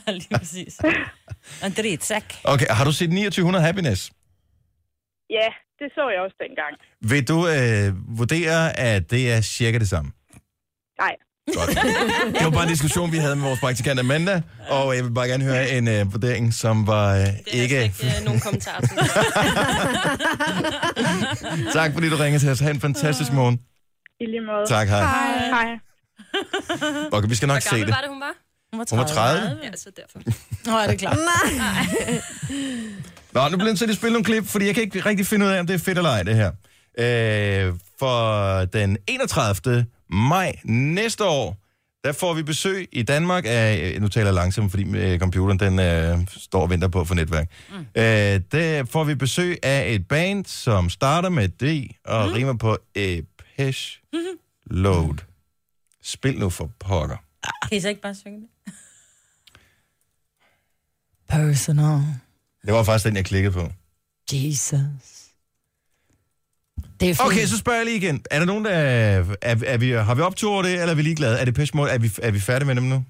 Speaker 5: lige præcis. Og det er et sak.
Speaker 1: Okay, har du set 2900 Happiness?
Speaker 10: Ja, det så jeg også dengang.
Speaker 1: Vil du øh, vurdere, at det er cirka det samme?
Speaker 10: Nej,
Speaker 1: Godt. Det var bare en diskussion, vi havde med vores praktikant Amanda, og jeg vil bare gerne høre en øh, vurdering, som var øh, ikke...
Speaker 11: øh, nogen kommentarer til.
Speaker 1: Tak, fordi du ringede til os. Ha' en fantastisk morgen.
Speaker 10: i lige måde.
Speaker 1: Tak, hej.
Speaker 10: Hej.
Speaker 1: Okay, vi skal nok
Speaker 11: Hvor
Speaker 1: se
Speaker 11: gammel
Speaker 1: det.
Speaker 11: var det, hun var?
Speaker 1: Hun var 30.
Speaker 11: Ja, så derfor.
Speaker 8: Nå, er det klart.
Speaker 1: Nå, nu bliver jeg nødt til at spille nogle klip, fordi jeg kan ikke rigtig finde ud af, om det er fedt eller ej, det her. Øh, for den 31. maj næste år, der får vi besøg i Danmark af... øh, Nu taler jeg langsomt, fordi øh, computeren den øh, står og venter på at få netværk. Mm. Øh, der får vi besøg af et band, som starter med D og mm. rimer på Epesh Load. Spil nu for pokker.
Speaker 5: Kan I så ikke bare synge det?
Speaker 8: Personal.
Speaker 1: Det var faktisk den, jeg klikkede på.
Speaker 8: Jesus. Det er fint.
Speaker 1: Okay, så spørger jeg lige igen. Er der nogen, der... Er, er, er vi, har vi optur over det, eller er vi ligeglade? Er det Depeche Mode? Er vi, er vi færdige med dem nu?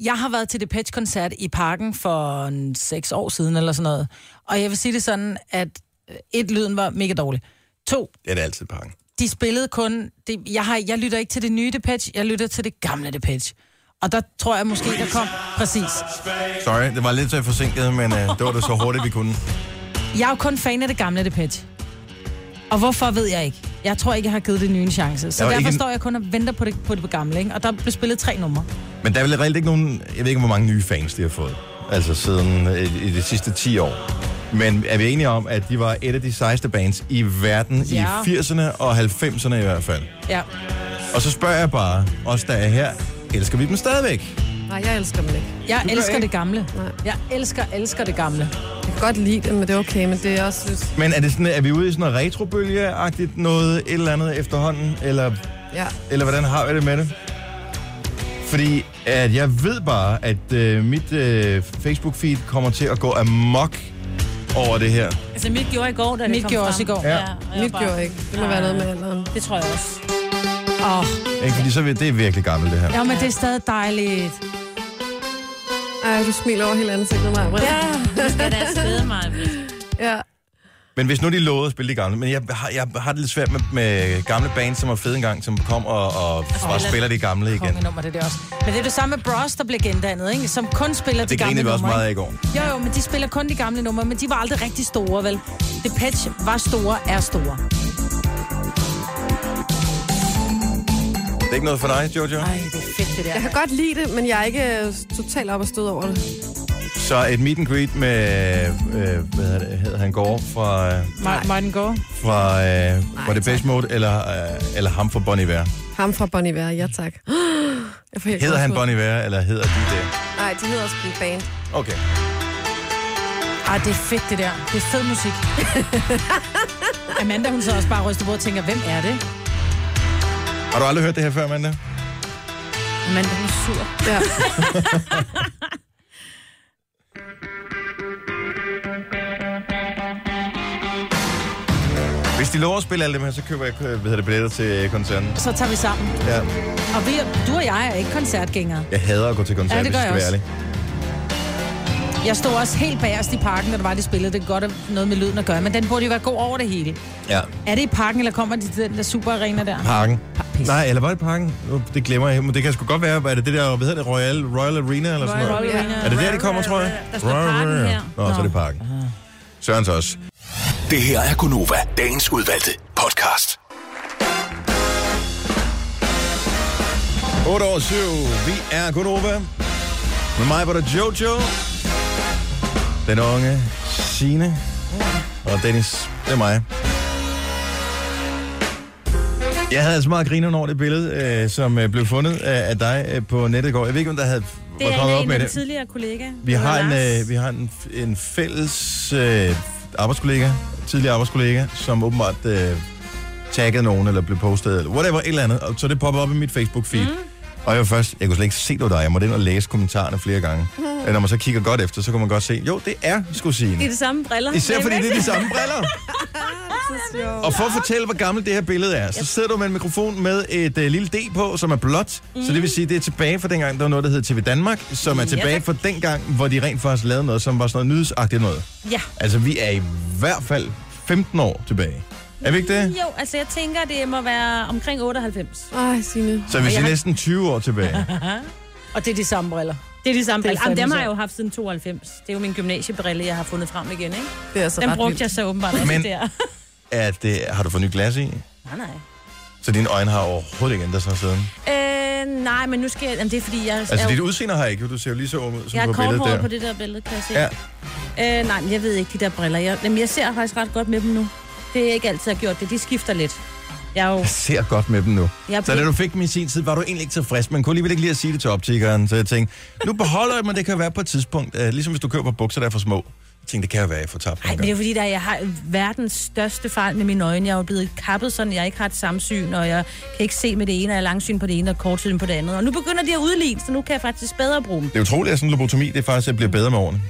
Speaker 8: Jeg har været til Depeche-koncert i parken for en seks år siden, eller sådan noget. Og jeg vil sige det sådan, at øh, et, lyden var mega dårlig. To,
Speaker 1: Det er det altid pakken.
Speaker 8: de spillede kun... Det, jeg, har, jeg lytter ikke til det nye Depeche, jeg lytter til det gamle Depeche. Og der tror jeg måske, der kom... Præcis.
Speaker 1: Sorry, det var lidt så forsinket, men uh, det var det så hurtigt, vi kunne.
Speaker 8: Jeg er jo kun fan af det gamle Depeche. Og hvorfor ved jeg ikke. Jeg tror ikke, jeg har givet det nye en chance. Så
Speaker 1: Der var
Speaker 8: derfor
Speaker 1: ikke en-
Speaker 8: står jeg kun og venter på det, på det gamle. Ikke? Og der blev spillet tre numre.
Speaker 1: Men der er vel reelt ikke nogen... Jeg ved ikke, hvor mange nye fans, de har fået. Altså siden øh, i de sidste 10 år. Men er vi enige om, at de var et af de sejeste bands i verden ja.
Speaker 8: Ja.
Speaker 1: i 80'erne og 90'erne i hvert fald?
Speaker 8: Ja.
Speaker 1: Og så spørger jeg bare, os der er her, elsker vi dem stadigvæk?
Speaker 4: Nej, jeg elsker dem ikke.
Speaker 8: Jeg elsker
Speaker 1: ikke.
Speaker 8: det gamle. Jeg elsker, elsker det gamle.
Speaker 4: Jeg kan godt lide den, men det er okay, men det er også lidt...
Speaker 1: Men er, det sådan, er vi ude i sådan noget retrobølgeagtigt noget, et eller andet efterhånden, eller,
Speaker 4: Ja.
Speaker 1: eller hvordan har vi det med det? Fordi at jeg ved bare, at øh, mit øh, Facebook-feed kommer til at gå amok over det her.
Speaker 5: Altså, mit gjorde i går, da det
Speaker 8: Mit
Speaker 5: kom
Speaker 8: gjorde
Speaker 5: frem.
Speaker 8: også i går.
Speaker 1: Ja.
Speaker 5: og jeg
Speaker 4: Mit
Speaker 5: var
Speaker 4: gjorde ikke. Det må være noget med alderen.
Speaker 5: Det tror jeg også.
Speaker 4: Åh,
Speaker 1: Ikke? Fordi så er vi- det er virkelig gammelt, det her.
Speaker 8: Ja, men det er stadig dejligt.
Speaker 4: ej, du smiler over hele ansigtet, mig. Ja.
Speaker 5: Det skal da afsted, mig.
Speaker 4: ja.
Speaker 1: Men hvis nu de lovede at spille de gamle, men jeg har, jeg har det lidt svært med, med gamle bands, som var fede engang, som kom og, og bare spiller de gamle igen.
Speaker 8: Kongenummer, det er det også. Men det er det samme med Bros, der blev gendannet, ikke? Som kun spiller de
Speaker 1: Det
Speaker 8: gamle
Speaker 1: grinede vi også
Speaker 8: numre.
Speaker 1: meget af i
Speaker 8: ikke?
Speaker 1: går.
Speaker 8: Jo, jo, men de spiller kun de gamle numre, men de var aldrig rigtig store, vel? Depeche var store, er store.
Speaker 1: Det er ikke noget for dig, Jojo?
Speaker 8: Ej, det er fedt, det der.
Speaker 4: Jeg kan godt lide det, men jeg er ikke øh, totalt op og stød over det.
Speaker 1: Så et meet and greet med, øh, hvad hedder det, hedder han Gore fra, øh,
Speaker 8: Mar- Martin går.
Speaker 1: fra, øh, fra det Base Mode, eller, øh, eller ham fra Bon Iver.
Speaker 4: Ham fra Bon Iver, ja tak. Jeg får helt
Speaker 1: Hedder han
Speaker 4: gåsehud.
Speaker 1: Bon Iver, eller hedder de det?
Speaker 4: Nej, de hedder også en band.
Speaker 1: Okay.
Speaker 8: Ej, det er fedt, det der. Det er fed musik. Amanda, hun sidder også bare og ryster på og tænker, hvem er det?
Speaker 1: Har du aldrig hørt det her før, Amanda?
Speaker 5: Men den er sur.
Speaker 4: Ja.
Speaker 1: Hvis de lover at spille alle dem her, så køber jeg øh, hvad hedder det, billetter til koncerten.
Speaker 8: Så tager vi sammen.
Speaker 1: Ja.
Speaker 8: Og vi, du og jeg er ikke koncertgængere.
Speaker 1: Jeg hader at gå til koncert,
Speaker 8: Ja, det
Speaker 1: hvis
Speaker 8: gør
Speaker 1: skal
Speaker 8: jeg
Speaker 1: være
Speaker 8: også.
Speaker 1: ærlig.
Speaker 8: Jeg stod også helt bagerst i parken, når det var, de spillede. Det kan godt have noget med lyden at gøre, men den burde jo være god over det hele.
Speaker 1: Ja.
Speaker 8: Er det i parken, eller kommer de til den der superarena der?
Speaker 1: Parken.
Speaker 8: pis.
Speaker 1: Nej, eller var det parken? Nu, Det glemmer jeg. Men det kan sgu godt være, hvad er det, det der, hvad hedder det, Royal, Royal Arena eller sådan noget?
Speaker 5: Royal Arena.
Speaker 1: Er det der, de kommer, tror jeg?
Speaker 5: Der står parken her.
Speaker 1: Nå, så er det parken. Sørens også.
Speaker 7: Det her er Gunova, dagens udvalgte podcast.
Speaker 1: 8 over 7. Vi er Gunova. Med mig var der Jojo. Den unge Signe. Og Dennis, det er mig. Jeg havde altså meget griner over det billede, øh, som øh, blev fundet af, af dig øh, på nettet i går. Jeg ved ikke, om der havde
Speaker 5: Det
Speaker 1: var
Speaker 5: er
Speaker 1: kommet
Speaker 5: en af
Speaker 1: op med
Speaker 5: mine
Speaker 1: det.
Speaker 5: tidligere kollegaer.
Speaker 1: Vi har en, øh, vi
Speaker 5: vi...
Speaker 1: har en, en fælles øh, arbejdskollega, tidligere arbejdskollega, som åbenbart øh, taggede nogen, eller blev postet, eller whatever, et eller andet. Og så det popper op i mit Facebook-feed. Mm. Og jeg var først, jeg kunne slet ikke se, det var dig. Jeg måtte ind og læse kommentarerne flere gange. Mm. Når man så kigger godt efter, så kan man godt se, jo, det er sgu
Speaker 5: Det er
Speaker 1: Signe.
Speaker 5: de samme briller.
Speaker 1: Især
Speaker 5: Men
Speaker 1: fordi
Speaker 5: væk.
Speaker 1: det er de samme briller. Og for at fortælle, hvor gammelt det her billede er, så sidder du med en mikrofon med et øh, lille D på, som er blåt. Mm. Så det vil sige, det er tilbage fra dengang, der var noget, der hed TV Danmark, som er
Speaker 5: Ja,
Speaker 1: tilbage
Speaker 5: tak.
Speaker 1: fra dengang, hvor de rent faktisk lavede noget, som var sådan noget nyhedsagtigt noget.
Speaker 5: Ja.
Speaker 1: Altså, vi er i hvert fald 15 år tilbage. Er vi ikke det?
Speaker 5: Jo, altså jeg tænker, det må være omkring 98.
Speaker 4: Ej, Signe.
Speaker 1: Så er vi
Speaker 5: Og jeg
Speaker 1: er
Speaker 5: har-
Speaker 1: næsten 20 år tilbage.
Speaker 8: Og det er de samme briller.
Speaker 5: Det er de samme
Speaker 8: Det er
Speaker 5: briller. Jamen, dem
Speaker 8: fandme
Speaker 5: har jeg jo haft siden 92. Det er jo min gymnasiebrille, jeg har fundet frem igen, ikke?
Speaker 4: Det er altså
Speaker 5: Den
Speaker 4: ret
Speaker 5: brugte
Speaker 4: vildt.
Speaker 5: jeg så åbenbart også
Speaker 1: Men-
Speaker 5: der.
Speaker 1: At, det, har du fået nyt glas i?
Speaker 5: Nej, nej.
Speaker 1: Så dine øjne har overhovedet ikke ændret sig siden.
Speaker 5: Øh, nej, men nu skal jeg... Jamen, det er fordi, jeg...
Speaker 1: Altså,
Speaker 5: er
Speaker 1: dit
Speaker 5: jo-
Speaker 1: udseende har ikke. Du ser jo lige så ung ud, som
Speaker 5: jeg
Speaker 1: på
Speaker 5: er
Speaker 1: billedet
Speaker 5: korthåret
Speaker 1: der.
Speaker 5: på det der billede, kan jeg se.
Speaker 1: Ja.
Speaker 5: Øh, nej, men jeg ved ikke, de der briller. Jeg, jamen, jeg ser faktisk ret godt med dem nu. Det er ikke altid, jeg har gjort det. De skifter lidt. Jeg er jo...
Speaker 1: Jeg ser godt med dem nu.
Speaker 5: Jeg er
Speaker 1: Så da du fik dem i sin tid, var du egentlig ikke tilfreds, men kunne alligevel ikke lige at sige det til optikeren. Så jeg tænkte, nu beholder jeg dem, og det kan være på et tidspunkt. Uh, ligesom hvis du køber bukser, der er for små. Jeg tænkte, det kan jo være, jeg får tabt
Speaker 5: Nej,
Speaker 1: nogle
Speaker 5: men det er
Speaker 1: gange.
Speaker 5: fordi, der, jeg har verdens største fejl med mine øjne. Jeg er jo blevet kappet sådan, jeg ikke har et samsyn, og jeg kan ikke se med det ene, og jeg er langsyn på det ene, og kortsyn på det andet. Og nu begynder de at udligne, så nu kan jeg faktisk bedre bruge dem.
Speaker 1: Det er utroligt, at sådan en lobotomi, det er faktisk at blive bedre med årene.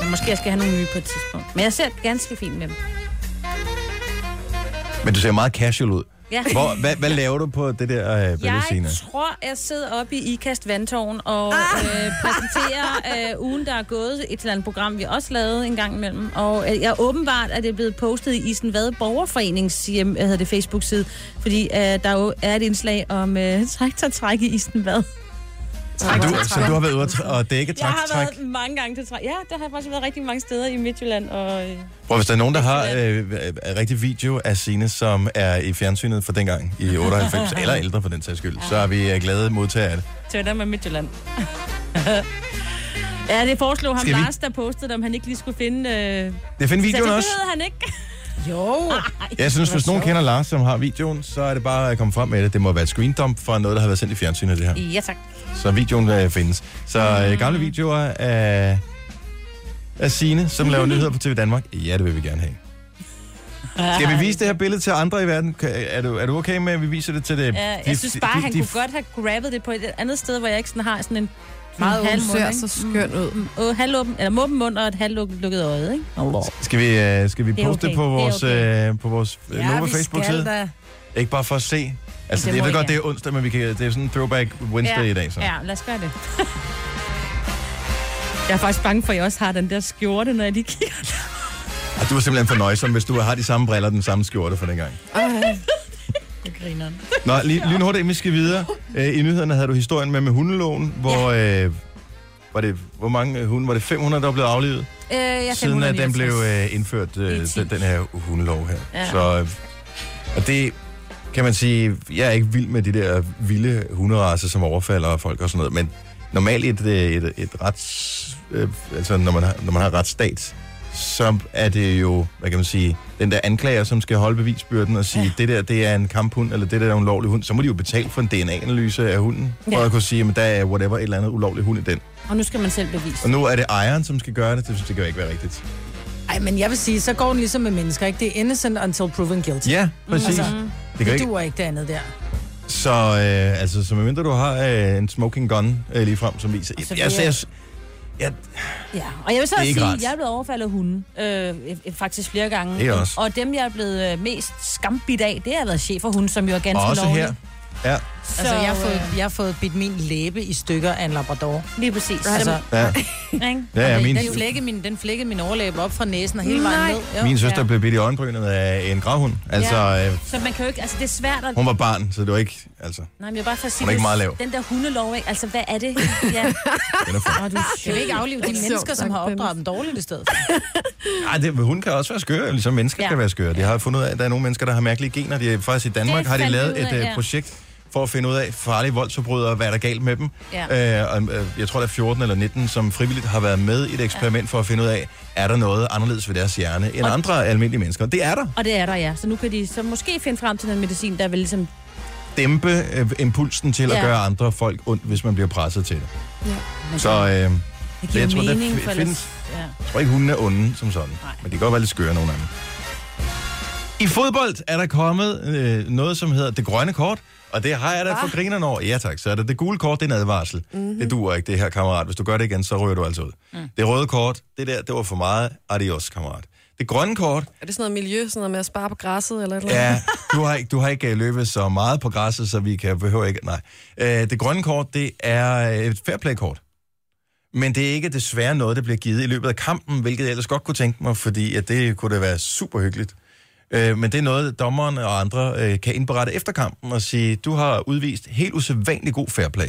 Speaker 5: Men måske jeg skal have nogle nye på et tidspunkt. Men jeg ser ganske fint med dem.
Speaker 1: Men du ser meget casual ud.
Speaker 5: Ja.
Speaker 1: Hvor, hvad, hvad laver du på det der øh, billede, Signe?
Speaker 5: Jeg tror, jeg sidder oppe i IKAST Vandtårn og øh, præsenterer øh, ugen, der er gået. Et eller andet program, vi også lavede en gang imellem. Og øh, jeg åbenbart er det blevet postet i Isen Vade Borgerforenings hjem, hvad hedder det, Facebook-side. Fordi øh, der jo er et indslag om øh, traktortræk i Isen Vade.
Speaker 1: Så du, så du har været ude at tr- og dække
Speaker 5: Jeg har
Speaker 1: træk.
Speaker 5: været mange gange til træk. Ja, der har jeg faktisk været rigtig mange steder i Midtjylland. Og, øh,
Speaker 1: Prøv, hvis der er nogen, der har øh, øh, rigtig video af Signe, som er i fjernsynet fra dengang i 98, eller ældre for den sags skyld, så er vi øh, glade modtagere af det.
Speaker 5: Tønder med Midtjylland. ja, det foreslog ham
Speaker 1: Skal vi-
Speaker 5: Lars, der postede, om han ikke lige skulle finde... Øh...
Speaker 1: Jeg finder
Speaker 5: Så det
Speaker 1: videoen også.
Speaker 5: behøvede han ikke.
Speaker 8: Jo.
Speaker 1: Jeg synes, hvis nogen kender Lars, som har videoen, så er det bare at komme frem med det. Det må være et screendump fra noget, der har været sendt i fjernsynet, det her.
Speaker 5: Ja, tak. Ah.
Speaker 1: Så videoen øh, findes. Så øh, gamle videoer af af Sine, som laver nyheder på TV Danmark? Ja, det vil vi gerne have. Skal vi vise det her billede til andre i verden? Kan- Er du, er du okay med, at vi viser det til det?
Speaker 5: Ja, jeg
Speaker 1: de-
Speaker 5: synes
Speaker 1: de-
Speaker 5: bare,
Speaker 1: de-
Speaker 5: han
Speaker 1: de-
Speaker 5: kunne godt have grabbet det på et andet sted, hvor jeg ikke sådan har sådan en
Speaker 4: Meget
Speaker 5: en halv
Speaker 4: åben
Speaker 5: mund,
Speaker 4: ser
Speaker 5: ikke?
Speaker 4: så skøn ud.
Speaker 5: Mm, åh, halvåben, eller måben mund og et halvlukket øje, ikke?
Speaker 1: Skal vi, øh, skal vi
Speaker 5: Det
Speaker 1: poste
Speaker 5: er okay,
Speaker 1: det, på
Speaker 5: det er
Speaker 1: vores,
Speaker 5: okay.
Speaker 1: øh, på vores øh, Nova Facebook-side? Ikke bare for at se. Altså,
Speaker 5: det
Speaker 1: det jeg
Speaker 5: må
Speaker 1: ved
Speaker 5: I
Speaker 1: godt, det
Speaker 5: gerne.
Speaker 1: er onsdag, men vi kan, det er sådan en throwback Wednesday
Speaker 5: ja.
Speaker 1: i dag. Så.
Speaker 5: Ja, lad os gøre det. jeg er faktisk bange for, at jeg også har den der skjorte, når jeg lige kigger.
Speaker 1: Og du er simpelthen for nøjsom, hvis du har de samme briller og den samme skjorte for dengang.
Speaker 5: Jeg griner.
Speaker 1: Nå, lige, lynhurtigt, inden vi skal videre. Øh, I nyhederne havde du historien med med hundeloven, hvor... Øh, var det, hvor mange øh, hunde? Var det 500, der blev aflivet?
Speaker 5: Øh, jeg er
Speaker 1: siden at den
Speaker 5: 569.
Speaker 1: blev øh, indført, øh, den, den her hundelov her.
Speaker 5: Ja.
Speaker 1: Så, øh, og det kan man sige, jeg er ikke vild med de der vilde hunderaser, som overfalder folk og sådan noget, men normalt i et, øh, et, et rets... Øh, altså, når man, har, når man har retsstat, så er det jo, hvad kan man sige, den der anklager, som skal holde bevisbyrden og sige, ja. det der, det er en kamphund, eller det der er en ulovlig hund, så må de jo betale for en DNA-analyse af hunden, for
Speaker 5: Ja.
Speaker 1: at kunne sige, at der er whatever, et eller andet ulovlig hund i den.
Speaker 5: Og nu skal man selv bevise.
Speaker 1: Og nu er det ejeren, som skal gøre det, det synes jeg, det kan jo ikke være rigtigt.
Speaker 8: Ej, men jeg vil sige, så går den ligesom med mennesker, ikke? Det er innocent until proven guilty.
Speaker 1: Ja, præcis.
Speaker 8: Altså,
Speaker 1: Det kan
Speaker 8: det
Speaker 1: ikke.
Speaker 8: duer ikke det andet der.
Speaker 1: Så øh, altså, så medmindre du har øh, en smoking gun øh, lige frem, som viser...
Speaker 5: så
Speaker 1: Jeg,
Speaker 5: vil jeg-
Speaker 1: jeg, jeg, jeg,
Speaker 5: Ja, og jeg vil så
Speaker 1: Det
Speaker 5: også
Speaker 1: er ikke
Speaker 5: sige,
Speaker 1: rart.
Speaker 5: at jeg er blevet overfaldet af hunde. Øh, øh, faktisk flere gange.
Speaker 1: Det er jeg også.
Speaker 5: Og dem, jeg er blevet øh, mest skambidt af, det har været chef for hunde, som jo er ganske
Speaker 1: og også
Speaker 5: lovlig.
Speaker 1: her. Ja,
Speaker 5: Så,
Speaker 8: Altså, jeg har fået, jeg har fået bidt min læbe i stykker af en labrador.
Speaker 5: Lige præcis.
Speaker 8: Altså,
Speaker 5: Altså,
Speaker 1: ja.
Speaker 5: ikke?
Speaker 1: ja, ja min,
Speaker 8: den, flækkede min, den flækkede min overlæbe op fra næsen og hele vejen ned. Jo.
Speaker 1: min søster blev bidt i øjenbrynet af en gravhund. Altså,
Speaker 5: Ja.
Speaker 1: øh,
Speaker 5: Så man kan jo ikke... Altså, det er svært at...
Speaker 1: hun var barn, så det var ikke... Altså,
Speaker 5: Nej, men jeg vil bare for at sige,
Speaker 1: Hun er ikke
Speaker 5: det-
Speaker 1: meget lav.
Speaker 5: den der hundelov, ikke? altså hvad er det? Ja.
Speaker 1: den er for...
Speaker 5: Åh, du
Speaker 8: Kan vi ikke aflive de
Speaker 4: Sjovt
Speaker 8: mennesker, som
Speaker 4: sagt,
Speaker 8: har opdraget
Speaker 4: Dennis.
Speaker 8: dem dårligt i stedet?
Speaker 1: Ej, det, hun kan også være skør, ligesom mennesker ja.
Speaker 5: Ja.
Speaker 1: kan være skøre. Det har jeg fundet ud af, at der er nogle mennesker, der har mærkelige gener. De, er- faktisk i Danmark har de
Speaker 5: fandt
Speaker 1: lavet
Speaker 5: vi ud
Speaker 1: et
Speaker 5: af,
Speaker 1: øh,
Speaker 5: ja.
Speaker 1: projekt for at finde ud af farlige voldsforbrydere, hvad er der galt med dem.
Speaker 5: Ja.
Speaker 1: Øh, og, øh, jeg tror, der er 14 eller 19, som frivilligt har været med i et eksperiment for at finde ud af, er der noget anderledes ved deres hjerne end andre almindelige mennesker. Det er der.
Speaker 5: Og det er der, ja. Så nu kan de så måske finde frem til den medicin, der vil ligesom...
Speaker 1: Dæmpe øh, impulsen til at
Speaker 5: Ja.
Speaker 1: gøre andre folk ondt, hvis man bliver presset til det. Ja. Så øh, jeg
Speaker 5: Det giver
Speaker 1: Jeg tror, der
Speaker 5: mening,
Speaker 1: fi-
Speaker 5: for
Speaker 1: findes-
Speaker 5: ellers... Ja.
Speaker 1: tror ikke, hunden er onde som sådan.
Speaker 5: Nej.
Speaker 1: Men de kan godt være lidt skøre, nogle af dem. I fodbold er der kommet øh, noget, som hedder det grønne kort, og det har jeg da for grinerne over. Ja tak, så er det det gule kort, det er en advarsel. Mm-hmm. Det duer ikke, det her kammerat. Hvis du gør det igen, så rører du altså ud. Mm. Det røde kort, det der, det var for meget. Adios, kammerat. Det grønne kort,
Speaker 4: Er det sådan noget miljø, sådan noget med at spare på græsset eller et eller andet?
Speaker 1: Ja, du har ikke, du har ikke øh, løbet så meget på græsset, så vi kan behøver ikke... Nej. Øh, det grønne kort, det er øh, et fairplay-kort. Men det er ikke desværre noget, der bliver givet i løbet af kampen, hvilket jeg ellers godt kunne tænke mig, fordi at det kunne da være super hyggeligt. Øh, men det er noget, dommeren og andre øh, kan indberette efter kampen og sige, du har udvist helt usædvanlig god fairplay.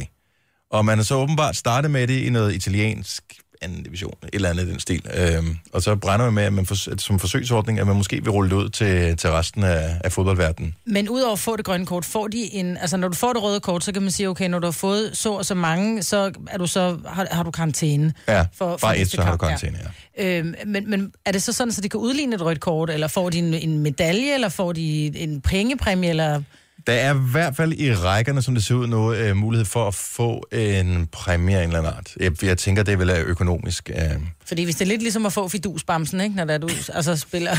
Speaker 1: Og man har så åbenbart startet med det i noget italiensk anden division, et eller andet i den stil. Øhm, og så brænder man med, at man for, at som forsøgsordning, at man måske vil rulle det ud til, til resten af, af fodboldverdenen.
Speaker 8: Men udover at få det grønne kort, får de en... Altså, når du får det røde kort, så kan man sige, okay, når du har fået så og så mange, så, er du så har, har du karantæne.
Speaker 1: Ja,
Speaker 8: For-
Speaker 1: for,
Speaker 8: for
Speaker 1: bare et,
Speaker 8: næste
Speaker 1: så har du
Speaker 8: kamp, ja.
Speaker 1: karantæne, ja.
Speaker 8: Øhm, men, men er det så sådan, så de kan udligne et rødt kort, eller får de en, en medalje, eller får de en pengepræmie, eller...
Speaker 1: Der er i hvert fald i rækkerne, som det ser ud nu, øh, mulighed for at få en præmie af en eller anden art. Jeg, jeg tænker, det vil være økonomisk. Øh.
Speaker 8: Fordi hvis det er lidt ligesom at få fidusbamsen, ikke? Når der er du altså, spiller...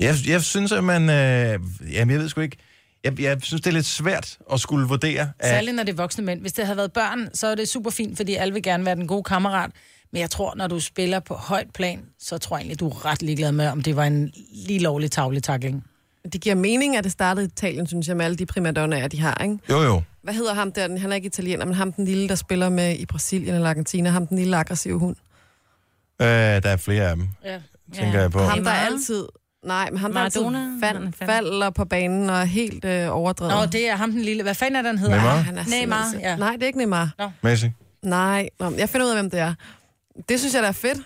Speaker 1: Jeg, jeg synes, at man... Øh, jamen, jeg ved sgu ikke... Jeg, jeg synes, det er lidt svært at skulle vurdere. At,
Speaker 8: Særligt når det er voksne mænd. Hvis det havde været børn, så er det super fint, fordi alle vil gerne være den gode kammerat. Men jeg tror, når du spiller på højt plan, så tror jeg egentlig, du er ret ligeglad med, om det var en lige lovlig tavletakling.
Speaker 4: Det giver mening, at det startede i Italien, synes jeg, med alle de primadonnaer, de har, ikke?
Speaker 1: jo, jo.
Speaker 4: Hvad hedder ham der? Den- Han er ikke italiener, men ham den lille, der spiller med i Brasilien eller Argentina. Ham den lille aggressive hund.
Speaker 1: Øh, der er flere af dem,
Speaker 8: Ja.
Speaker 1: tænker jeg på.
Speaker 4: Ham, der
Speaker 5: Neymar?
Speaker 4: altid... Nej, men ham, der
Speaker 5: Maradona?
Speaker 4: altid
Speaker 5: Hvordan
Speaker 4: fald,
Speaker 5: fanden?
Speaker 4: falder på banen og er helt øh, overdrevet.
Speaker 8: Nå, det er ham den lille. Hvad fanden er den hedder?
Speaker 1: Neymar?
Speaker 8: Ah,
Speaker 4: Han er
Speaker 8: Neymar,
Speaker 4: simpelthen-
Speaker 8: ja.
Speaker 4: Nej, det er ikke Neymar.
Speaker 1: Messi?
Speaker 4: Nej, Nå, men jeg finder ud af, hvem det er. Det synes jeg, der er fedt.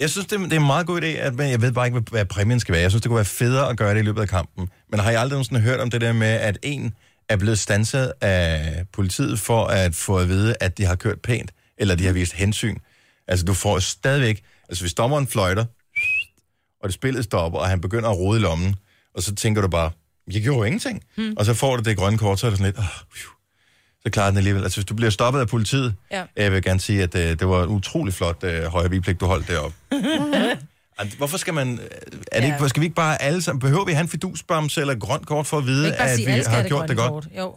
Speaker 1: Jeg synes, det, det er en meget god idé, at, men jeg ved bare ikke, hvad, hvad præmien skal være. Jeg synes, det kunne være federe at gøre det i løbet af kampen. Men har I aldrig nogensinde hørt om det der med, at en er blevet stanset af politiet for at få at vide, at de har kørt pænt, eller de har vist hensyn? Altså, du får stadigvæk... Altså, hvis dommeren fløjter, og det spillet stopper, og han begynder at rode i lommen, og så tænker du bare, jeg gjorde jo ingenting. Hmm. Og så får du det grønne kort, så er det sådan lidt... Oh, så klarer den alligevel. Altså, hvis du bliver stoppet af politiet,
Speaker 2: Ja.
Speaker 1: jeg vil gerne sige, at øh, det var en utrolig flot øh, højre vigepligt, du holdt deroppe. Ej, Hvorfor skal man... Er det
Speaker 2: Ja.
Speaker 1: ikke, skal vi ikke bare alle sammen... Behøver vi at have en fidusbamse eller et grønt kort for at
Speaker 2: Jeg
Speaker 1: vide,
Speaker 2: kan ikke bare
Speaker 1: at
Speaker 2: sige,
Speaker 1: vi
Speaker 2: alle skal
Speaker 1: har
Speaker 2: have det
Speaker 1: gjort det
Speaker 2: grønne
Speaker 1: godt?
Speaker 2: kort. Jo.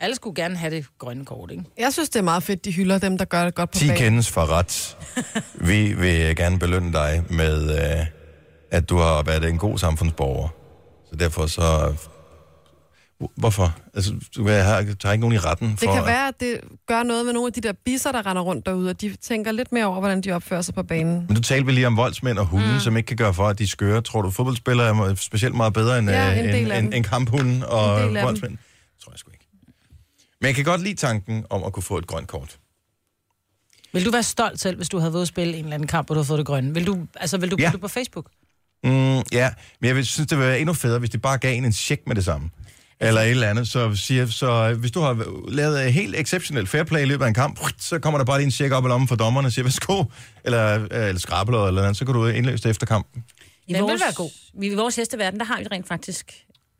Speaker 2: Alle skulle gerne have det grønne kort, ikke?
Speaker 4: Jeg synes, det er meget fedt, de hylder dem, der gør det godt på
Speaker 1: 10
Speaker 4: banen.
Speaker 1: kendes for ret. Vi vil gerne belønne dig med, øh, at du har været en god samfundsborger. Så derfor så... Hvorfor? Altså, du kan have, tager ikke nogen i retten for...
Speaker 4: Det kan
Speaker 1: at-
Speaker 4: være, at det gør noget med nogle af de der bisser, der render rundt derude, og de tænker lidt mere over, hvordan de opfører sig på banen.
Speaker 1: Men du talte vel lige om voldsmænd og hunde, mm. som ikke kan gøre for, at de er skøre. Tror du, fodboldspillere er specielt meget bedre end,
Speaker 4: Ja,
Speaker 1: ja,
Speaker 4: en
Speaker 1: en,
Speaker 4: del
Speaker 1: end,
Speaker 4: af
Speaker 1: end,
Speaker 4: dem.
Speaker 1: end kamphunden og
Speaker 4: En del af dem.
Speaker 1: voldsmænd? Tror jeg sgu ikke. Men jeg kan godt lide tanken om at kunne få et grønt kort.
Speaker 8: Vil du være stolt selv, hvis du havde været at spille en eller anden kamp, og du havde fået det grønne? Vil du, altså, vil du
Speaker 1: Ja.
Speaker 8: ja. det på Facebook?
Speaker 1: Mm, ja, men jeg vil- synes, det ville være endnu federe, hvis de bare gav en en check med det samme. Eller et eller andet. Så, siger, så øh, hvis du har lavet øh, helt exceptionelt fair play i løbet af en kamp, så kommer der bare lige en check op i lommen for dommeren og siger, værsgo, eller, øh, eller skrabler eller andet, så kan du indløse det efter kampen.
Speaker 5: I
Speaker 8: Den vil være god.
Speaker 5: Vi, I vores hesteverden, der har vi rent faktisk...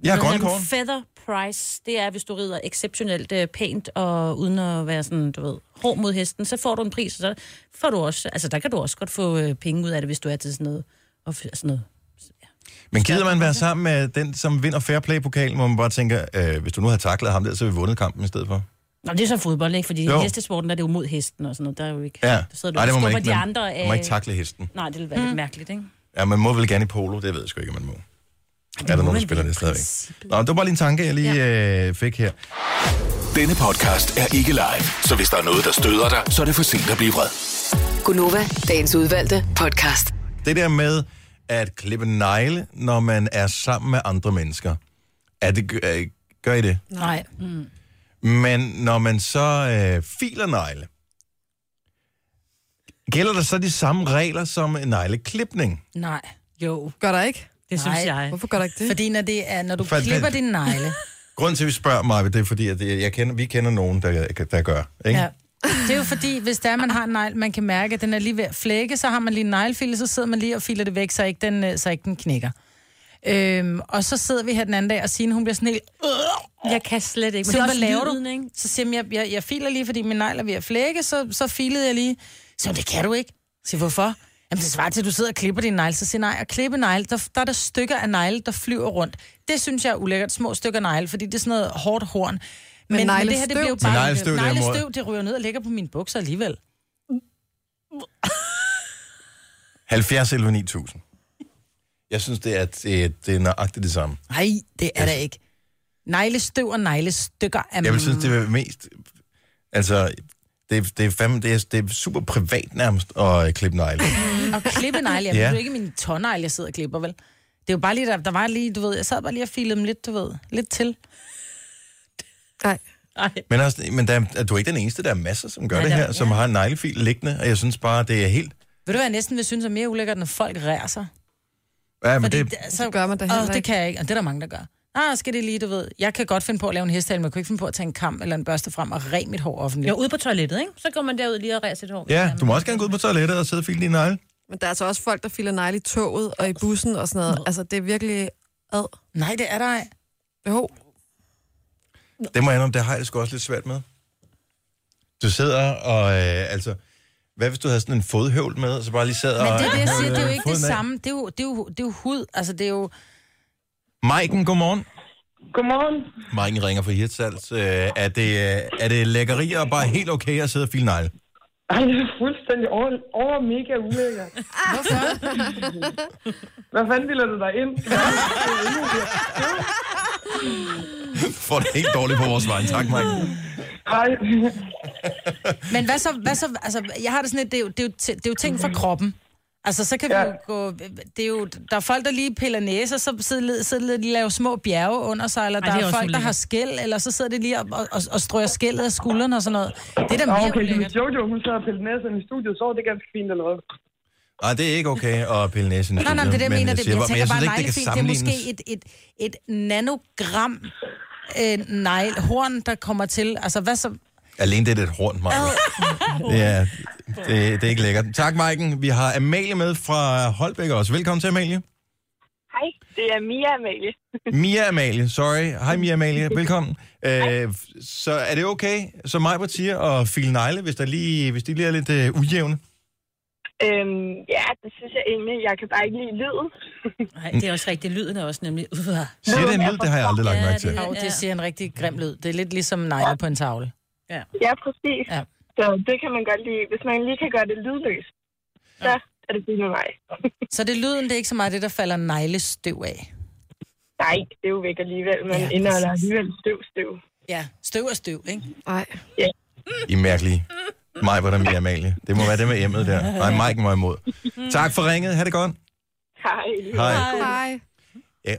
Speaker 1: Jeg har
Speaker 5: noget, der
Speaker 1: grønne
Speaker 5: hedder
Speaker 1: kort.
Speaker 5: Feather price, det er, hvis du rider exceptionelt øh, pænt og uden at være sådan, du ved, hård mod hesten, så får du en pris, og så får du også, altså der kan du også godt få øh, penge ud af det, hvis du er til sådan noget. Og f- sådan noget.
Speaker 1: Men gider man være sammen med den, som vinder fair play-pokalen, hvor man bare tænker, øh, hvis du nu havde taklet ham der, så havde vi vundet kampen i stedet for?
Speaker 5: Nå, men det er så fodbold, ikke? Fordi
Speaker 1: Jo.
Speaker 5: jo. hestesporten der er det jo mod hesten og sådan noget. Der er jo ikke...
Speaker 1: Ja.
Speaker 5: Så sidder du
Speaker 1: Nej,
Speaker 5: og
Speaker 1: det må man
Speaker 5: skubber
Speaker 1: ikke.
Speaker 5: de
Speaker 1: Man-
Speaker 5: andre
Speaker 1: man må ikke takle hesten.
Speaker 5: Nej, det vil være mm. lidt mærkeligt, ikke?
Speaker 1: Ja, man må vel gerne i polo, det ved jeg sgu ikke, om man må. er der nogen, der spiller det stadigvæk? Nå, det var bare lige en tanke, jeg lige ja. øh, fik her.
Speaker 7: Denne podcast er ikke live, så hvis der er noget, der støder dig, så er det for sent at blive vred.
Speaker 6: Gunova, dagens udvalgte podcast.
Speaker 1: Det der med at klippe negle, når man er sammen med andre mennesker. Er det, gør, øh, gør I det?
Speaker 8: Nej. Mm.
Speaker 1: Men når man så øh, filer negle, gælder der så de samme regler som en negleklipning?
Speaker 8: Nej. Jo.
Speaker 4: Gør der ikke?
Speaker 5: Det synes jeg.
Speaker 4: Hvorfor gør der ikke det?
Speaker 8: Fordi når, det er, når du
Speaker 1: For-
Speaker 8: klipper din negle,
Speaker 1: Grunden til, at vi spørger mig, det er fordi, at jeg kender, vi kender nogen, der, der gør. Ikke? Ja.
Speaker 8: Ja. Det er jo fordi, hvis der man har en negl, man kan mærke, at den er lige ved at flække, så har man lige en neglefile, så sidder man lige og filer det væk, så ikke den, øh, så ikke den knækker. Øhm, og så sidder vi her den anden dag, og Signe, hun bliver sådan helt...
Speaker 5: Jeg kan slet ikke. Men
Speaker 8: Så
Speaker 5: det er
Speaker 8: hvad
Speaker 5: også
Speaker 8: laver
Speaker 5: lyden,
Speaker 8: du?
Speaker 5: ikke?
Speaker 8: Så siger hun, jeg, jeg, jeg filer lige, fordi min negl er ved at flække, så, så filede jeg lige. Så siger hun, det kan du ikke. Så siger jeg, hvorfor? Jamen, det svarer til, at du sidder og klipper din negl. Så siger jeg, nej, at klippe negl, der, der er der stykker af negle, der flyver rundt. Det synes jeg er ulækkert, små stykker negle, fordi det er sådan noget hårdt horn. Men, men, men det her, det
Speaker 4: neglestøv?
Speaker 8: blev
Speaker 1: Men
Speaker 8: bare...
Speaker 1: neglestøv, det er
Speaker 8: neglestøv,
Speaker 1: måde.
Speaker 8: det, det ryger ned og ligger på mine bukser alligevel.
Speaker 1: 70 11 9000. Jeg synes, det er, det, er- det er nøjagtigt det samme.
Speaker 8: Nej, det er der ikke. Neglestøv og neglestykker er...
Speaker 1: Jeg vil synes, det er mest... Altså, det, er- det, er, fandme, det, er, det er super privat nærmest at øh, klippe negle.
Speaker 8: Og klippe negle, jamen,
Speaker 1: Ja.
Speaker 8: ja. det er jo ikke min tånegle, jeg sidder og klipper, vel? Det er jo bare lige, der, der var lige, du ved, jeg sad bare lige og filede dem lidt, du ved, lidt til.
Speaker 4: Nej.
Speaker 1: Men, også, men der, er- er du er ikke den eneste, der er masser, som gør
Speaker 8: Nej,
Speaker 1: det
Speaker 8: der-
Speaker 1: her, som har en neglefil liggende, og jeg synes bare, det er helt...
Speaker 8: Ved du hvad, jeg næsten vil synes er mere ulækkert, når folk rærer sig?
Speaker 1: Ja, men
Speaker 8: Fordi
Speaker 1: det,
Speaker 8: det, så,
Speaker 4: Det gør man da heller
Speaker 8: åh, det
Speaker 4: ikke.
Speaker 8: kan jeg ikke, og det er der mange, der gør. Ah, skal det lige, du ved. Jeg kan godt finde på at lave en hestehal, men jeg kunne ikke finde på at tage en kam eller en børste frem og ræ mit hår offentligt.
Speaker 5: Jo, ude på toilettet, ikke? Så går man derud lige og ræser sit hår.
Speaker 1: ja, du må også gerne gå ud på toilettet og sidde og file dine negle.
Speaker 4: Men der er altså også folk, der filer negle i toget og i bussen og sådan noget. Altså, det er virkelig ad.
Speaker 8: Nej, det er der ej.
Speaker 4: Jo.
Speaker 1: Det må jeg indrømme, det har jeg det sgu også lidt svært med. Du sidder og... Øh, altså, hvad hvis du havde sådan en fodhøvl med, og så bare lige sad og...
Speaker 8: Men det er det, jeg siger, det er jo
Speaker 1: øh,
Speaker 8: ikke det
Speaker 1: foden af?
Speaker 8: samme. Det er jo, det er jo, det er jo hud, altså det er jo...
Speaker 1: Maiken, godmorgen.
Speaker 10: Godmorgen.
Speaker 1: Maiken ringer fra Hirtshals. Øh, er, det, øh, er det lækkerier og bare helt okay at sidde og file negle?
Speaker 10: Ej, det er fuldstændig over, over mega ulækkert. Hvorfor? Hvad fanden bilder du dig ind?
Speaker 1: Får det helt dårligt på vores vej. Tak, Maiken.
Speaker 10: Ej.
Speaker 8: Men hvad så, hvad så, altså, jeg har det sådan lidt, det er jo, det er jo, ti- det er jo ting fra kroppen. Altså, så kan ja. vi jo gå, det er jo, der er folk, der lige piller næser, så sidder, sidder de laver små bjerge under sig, eller
Speaker 5: Ej,
Speaker 8: der
Speaker 5: det er
Speaker 8: er, er
Speaker 5: også
Speaker 8: folk, der
Speaker 5: ulækkert.
Speaker 8: har skæld, eller så sidder de lige og, og, og, og strøger skældet af skulderen og sådan noget. Det er da
Speaker 10: Nå,
Speaker 8: mere
Speaker 10: okay, så
Speaker 8: ulækkert.
Speaker 10: hvis Jojo, hun så har pillet næsen i studiet, så er det ganske fint eller noget.
Speaker 1: Nej, det er ikke okay at pille næsen. i
Speaker 8: Nej, nej, men det er det,
Speaker 1: studiet,
Speaker 8: jeg mener. Det,
Speaker 1: siger
Speaker 8: jeg
Speaker 1: bare- men
Speaker 8: tænker
Speaker 1: synes
Speaker 8: bare,
Speaker 1: ikke, det kan
Speaker 8: neglefint, det er måske
Speaker 1: sammenlignes.
Speaker 8: et, et, et nanogram øh, negl, horn, der kommer til. Altså, hvad så?
Speaker 1: Alene det er et horn, Maiken. Ja, det, det er ikke lækkert. Tak, Maiken. Vi har Amalie med fra Holbæk også. Velkommen til, Amalie.
Speaker 11: Hej, det er Mia Amalie.
Speaker 1: Mia Amalie, sorry. Hej Mia Amalie, velkommen. Øh, så er det okay, som Majbert siger, at file negle, hvis, der lige, hvis de lige er lidt øh, ujævne?
Speaker 11: Øhm, ja, det synes jeg egentlig. Jeg kan bare ikke lide lyden.
Speaker 5: Nej, det er også rigtigt. Lyden er også nemlig... Uh.
Speaker 1: Siger det en lyd? Det har jeg aldrig lagt mærke til.
Speaker 8: Ja, det, det siger en rigtig grim lyd. Det er lidt ligesom negle på en tavle.
Speaker 11: Ja, ja præcis. Ja. Så det kan man godt lide. Hvis man lige kan gøre det lydløst, så er det fint med mig.
Speaker 8: Så det er lyden, det er ikke så meget det, der falder neglestøv af.
Speaker 11: Nej, det er jo væk alligevel. Man
Speaker 8: Ja,
Speaker 11: ja, indeholder
Speaker 8: præcis.
Speaker 11: alligevel støv, støv.
Speaker 8: Ja, støv og støv, ikke?
Speaker 4: Nej.
Speaker 11: Ja.
Speaker 1: I er mærkelige. Majbert og Mia Amalie. Det må være det med emnet der. Nej, Mike må imod. Tak for ringet. Ha' det godt.
Speaker 11: Hej.
Speaker 1: Hej.
Speaker 4: Hej.
Speaker 1: Ja,
Speaker 8: Ej,
Speaker 1: Jeg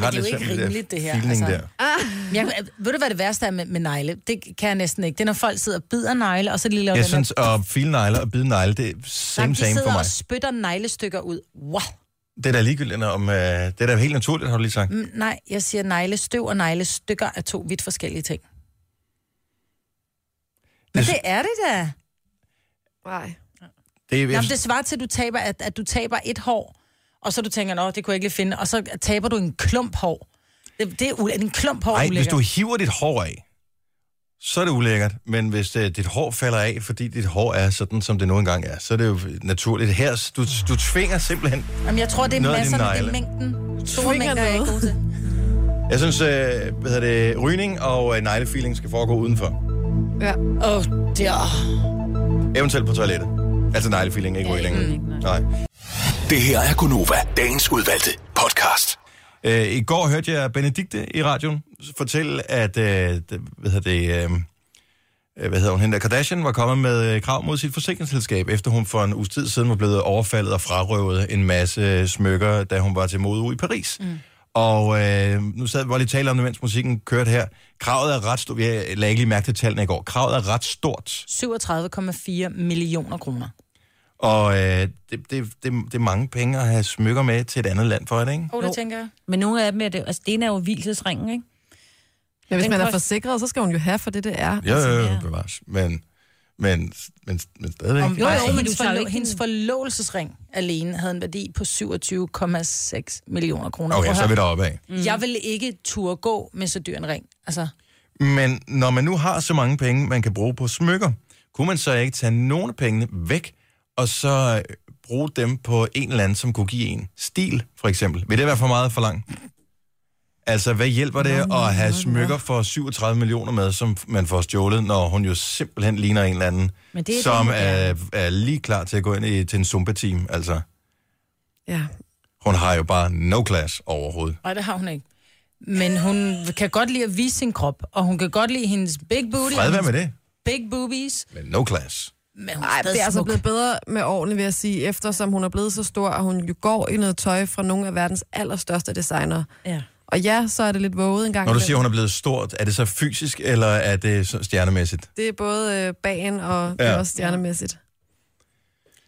Speaker 8: men det er jo
Speaker 1: lidt
Speaker 8: ikke
Speaker 1: svært med det
Speaker 8: rimeligt, det her.
Speaker 1: feeling der.
Speaker 8: Ah. Jeg, ved du, hvad det værste er med, med negle? Det kan jeg næsten ikke. Det er, når folk sidder og bider negle, og så lige laver
Speaker 1: jeg
Speaker 8: den her-
Speaker 1: synes, at file negle og bide negle, det er same
Speaker 8: Jamen, de
Speaker 1: same for
Speaker 8: sidder
Speaker 1: mig.
Speaker 8: og spytter neglestykker ud. Wow.
Speaker 1: Det er da ligegyldigt om... Øh, det er da helt naturligt, har du lige sagt.
Speaker 8: Mm, nej, jeg siger neglestøv og neglestykker er to vidt forskellige ting. Men
Speaker 1: Det-
Speaker 8: det, er det da.
Speaker 4: Nej.
Speaker 1: Det, er,
Speaker 8: Jamen, det svarer til, at du taber, at, at du taber et hår, og så du tænker, nå, det kunne jeg ikke lige finde, og så taber du en klump hår. Det, det er u- en klump hår
Speaker 1: Ej, hvis
Speaker 8: ulækkert.
Speaker 1: du hiver dit hår af, så er det ulækkert. Men hvis øh, dit hår falder af, fordi dit hår er sådan, som det nu engang er, så er det jo naturligt. Her, du, du tvinger simpelthen...
Speaker 8: Jamen, jeg tror, det er
Speaker 1: noget af din
Speaker 8: masserne, det
Speaker 1: negle.
Speaker 8: er mængden. Store
Speaker 4: Twinger
Speaker 8: mængder er jeg ikke god til.
Speaker 1: Jeg synes, øh, hvad hedder det, rygning og øh, neglefeeling skal foregå udenfor.
Speaker 4: Ja.
Speaker 8: Åh, oh, der.
Speaker 1: Eventuelt på toilettet. Altså neglefeeling, ikke rygning. Nej.
Speaker 7: Det her er Gunova, dagens udvalgte podcast.
Speaker 1: Øh, I går hørte jeg Benedikte i radioen fortælle, at øh, det, hvad hedder det, øh, øh, hvad hedder hun, hende der Kardashian, var kommet med øh, krav mod sit forsikringsselskab, efter hun for en uges tid siden var blevet overfaldet og frarøvet en masse øh, smykker, da hun var til mode i Paris. Mm. Og øh, nu sad vi bare lige og talte om det, mens musikken kørte her. Kravet er ret stort. Jeg lagde ikke lige mærke til tallene i går. Kravet er ret stort,
Speaker 8: 37,4 millioner kroner.
Speaker 1: og øh, det, det, det, det er mange penge at have smykker med til et andet land for, er det ikke?
Speaker 8: Åh, oh, det tænker jeg.
Speaker 5: Men nogle af dem er det... Altså, det ene er jo hvilesesringen, ikke?
Speaker 4: Men hvis
Speaker 5: Den
Speaker 4: man er
Speaker 5: kost-
Speaker 4: forsikret, så skal hun jo have for det, det er.
Speaker 1: Jo, jo, jo, bevares. Men, men, men, men stadigvæk. Altså,
Speaker 8: Om, jo, jo, men
Speaker 5: du
Speaker 8: du
Speaker 5: tager jo
Speaker 8: forlo-
Speaker 5: ikke
Speaker 8: hendes forlovelsesring alene havde en værdi på 27,6 millioner kroner. Prøv
Speaker 1: Okay,
Speaker 8: at
Speaker 1: så er vi
Speaker 8: høre.
Speaker 1: deroppe af.
Speaker 8: Mm. Jeg vil ikke turde gå med så dyr en ring. Altså,
Speaker 1: Men når man nu har så mange penge, man kan bruge på smykker, kunne man så ikke tage nogle af pengene væk, og så øh, bruge dem på en eller anden, som kunne give en stil, for eksempel? Vil det være for meget for langt? Altså, hvad hjælper det at have smykker for 37 millioner med, som man får stjålet, når hun jo simpelthen ligner en eller anden,
Speaker 5: Men det er
Speaker 1: som
Speaker 5: det,
Speaker 1: er, er lige klar til at gå ind i, til en Zumba-team? Altså,
Speaker 4: Ja.
Speaker 1: hun har jo bare no class overhovedet.
Speaker 8: nej, det har hun ikke. Men hun kan godt lide at vise sin krop, og hun kan godt lide hendes big booty.
Speaker 1: Fred
Speaker 8: og
Speaker 1: være
Speaker 8: hendes
Speaker 1: med det,
Speaker 8: Big boobies.
Speaker 1: men no class.
Speaker 8: Men hun er
Speaker 4: Ej,
Speaker 8: stadig
Speaker 4: det er altså
Speaker 8: smuk.
Speaker 4: blevet bedre med årene, vil jeg sige, eftersom hun er blevet så stor, og hun jo går i noget tøj fra nogle af verdens allerstørste designer.
Speaker 5: Ja.
Speaker 4: Og ja, så er det lidt våget en gang.
Speaker 1: Når du
Speaker 4: imellem.
Speaker 1: siger, hun er blevet stort, er det så fysisk, eller er det så stjernemæssigt?
Speaker 4: Det er både øh, bagen og
Speaker 1: Ja.
Speaker 4: ja. det er også stjernemæssigt.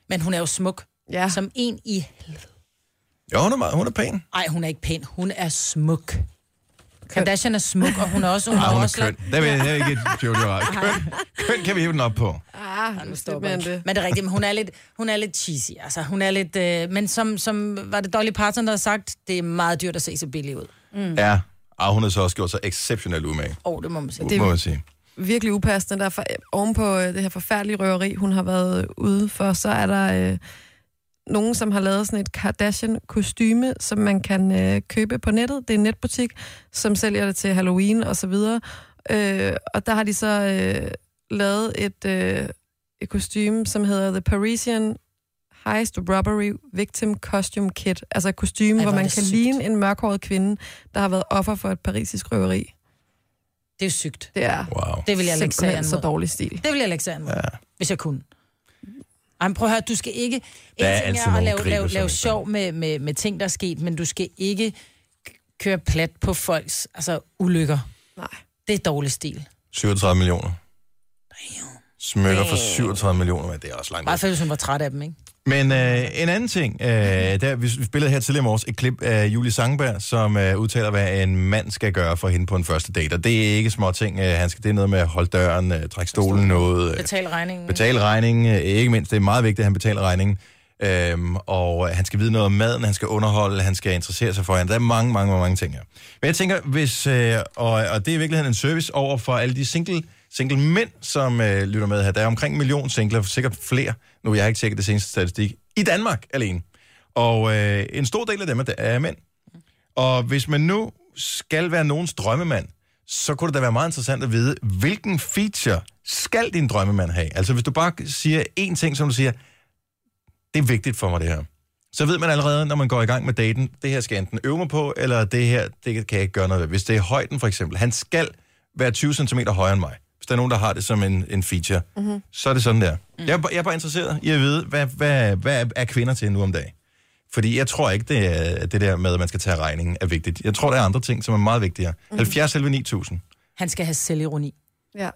Speaker 8: Men hun er jo smuk.
Speaker 4: Ja.
Speaker 8: Som en i...
Speaker 1: Jo, hun er, meget, hun er pæn.
Speaker 8: Ej, hun er ikke pæn. Hun er smuk. Kardashian er smuk, og hun er også... Hun
Speaker 1: Ej,
Speaker 8: er
Speaker 1: hun er
Speaker 8: også
Speaker 1: køn. Det er, det er ikke et tvivl, jeg har. køn. køn kan vi hæve den op på.
Speaker 4: Ah,
Speaker 8: Nu
Speaker 4: det
Speaker 8: stopper
Speaker 4: stopper
Speaker 8: jeg.
Speaker 4: end det.
Speaker 8: Men det er rigtigt, men hun er lidt, hun er lidt cheesy, altså. Hun er lidt, øh, men som, som var det Dolly Parton, der har sagt, det er meget dyrt at se så billig ud.
Speaker 1: Mm. Ja, og hun har så også gjort sig exceptionelt umage,
Speaker 8: Åh, oh, det må man sige.
Speaker 1: det... må man sige.
Speaker 4: Virkelig upassende. Der for, oven på øh, det her forfærdelige røveri, hun har været øh, ude for, så er der øh, nogen, som har lavet sådan et Kardashian-kostyme, som man kan øh, købe på nettet. Det er en netbutik, som sælger det til Halloween og så videre. Øh, og der har de så øh, lavet et, øh, et kostume, som hedder The Parisian Heist Robbery Victim Costume Kit. Altså et kostume,
Speaker 8: Ej,
Speaker 4: hvor
Speaker 8: hvor er
Speaker 4: man kan
Speaker 8: det sygt.
Speaker 4: ligne en mørkhåret kvinde, der har været offer for et parisisk røveri.
Speaker 8: Det er jo sygt.
Speaker 4: Det er
Speaker 1: Wow.
Speaker 8: Det vil jeg lægge
Speaker 4: simpelthen
Speaker 8: sagen
Speaker 4: så
Speaker 8: mod.
Speaker 4: dårlig stil.
Speaker 8: Det vil jeg lægge sagen mod,
Speaker 1: Ja.
Speaker 8: hvis jeg kunne. Ej, men prøv at høre, du skal ikke...
Speaker 1: Der er
Speaker 8: en ting
Speaker 1: altid
Speaker 8: er at
Speaker 1: nogle
Speaker 8: lave,
Speaker 1: gribe,
Speaker 8: lave,
Speaker 1: som
Speaker 8: lave
Speaker 1: ikke
Speaker 8: sjov med, med, med ting, der er sket, men du skal ikke k- køre plat på folks altså, ulykker.
Speaker 4: Nej.
Speaker 8: Det er dårlig stil.
Speaker 1: 37 millioner. Smykker for 37 millioner, men det er også langt.
Speaker 8: Bare for, hvis hun var træt af dem, ikke?
Speaker 1: Men øh, en anden ting, øh, der, vi spillede her tidligere i morges et klip af Julie Sangberg, som øh, udtaler, hvad en mand skal gøre for hende på en første date. Og det er ikke små ting, øh, han skal, det er noget med at holde døren, øh, trække stolen noget, øh,
Speaker 8: Betal regningen.
Speaker 1: Betale regningen, øh, ikke mindst. Det er meget vigtigt, at han betaler regningen. Øhm, og han skal vide noget om maden, han skal underholde, han skal interessere sig for hende. Der er mange, mange, mange, mange ting her. Men jeg tænker, hvis, øh, og, og det er i virkeligheden en service over for alle de single, single mænd, som øh, lytter med her. Der er omkring en million singler, sikkert flere, nu jeg har ikke tjekket det seneste statistik, i Danmark alene. Og øh, en stor del af dem er, er mænd. Og hvis man nu skal være nogens drømmemand, så kunne det da være meget interessant at vide, hvilken feature skal din drømmemand have? Altså hvis du bare siger én ting, som du siger, det er vigtigt for mig det her. Så ved man allerede, når man går i gang med daten, det her skal jeg enten øve mig på, eller det her, det kan jeg ikke gøre noget ved. Hvis det er højden for eksempel, han skal være 20 cm højere end mig. Hvis der er nogen, der har det som en, en feature,
Speaker 12: Mhm.
Speaker 1: mm-hmm. så er det sådan der. Mm. Jeg, er, bare- jeg er bare interesseret i at vide, hvad, hvad, hvad er kvinder til nu om dagen? Fordi jeg tror ikke, det er at det der med, at man skal tage regningen, er vigtigt. Jeg tror, der er andre ting, som er meget vigtigere.
Speaker 8: Mhm.
Speaker 1: Mm. 70 11 9000.
Speaker 8: Han skal have selvironi.
Speaker 4: Ja.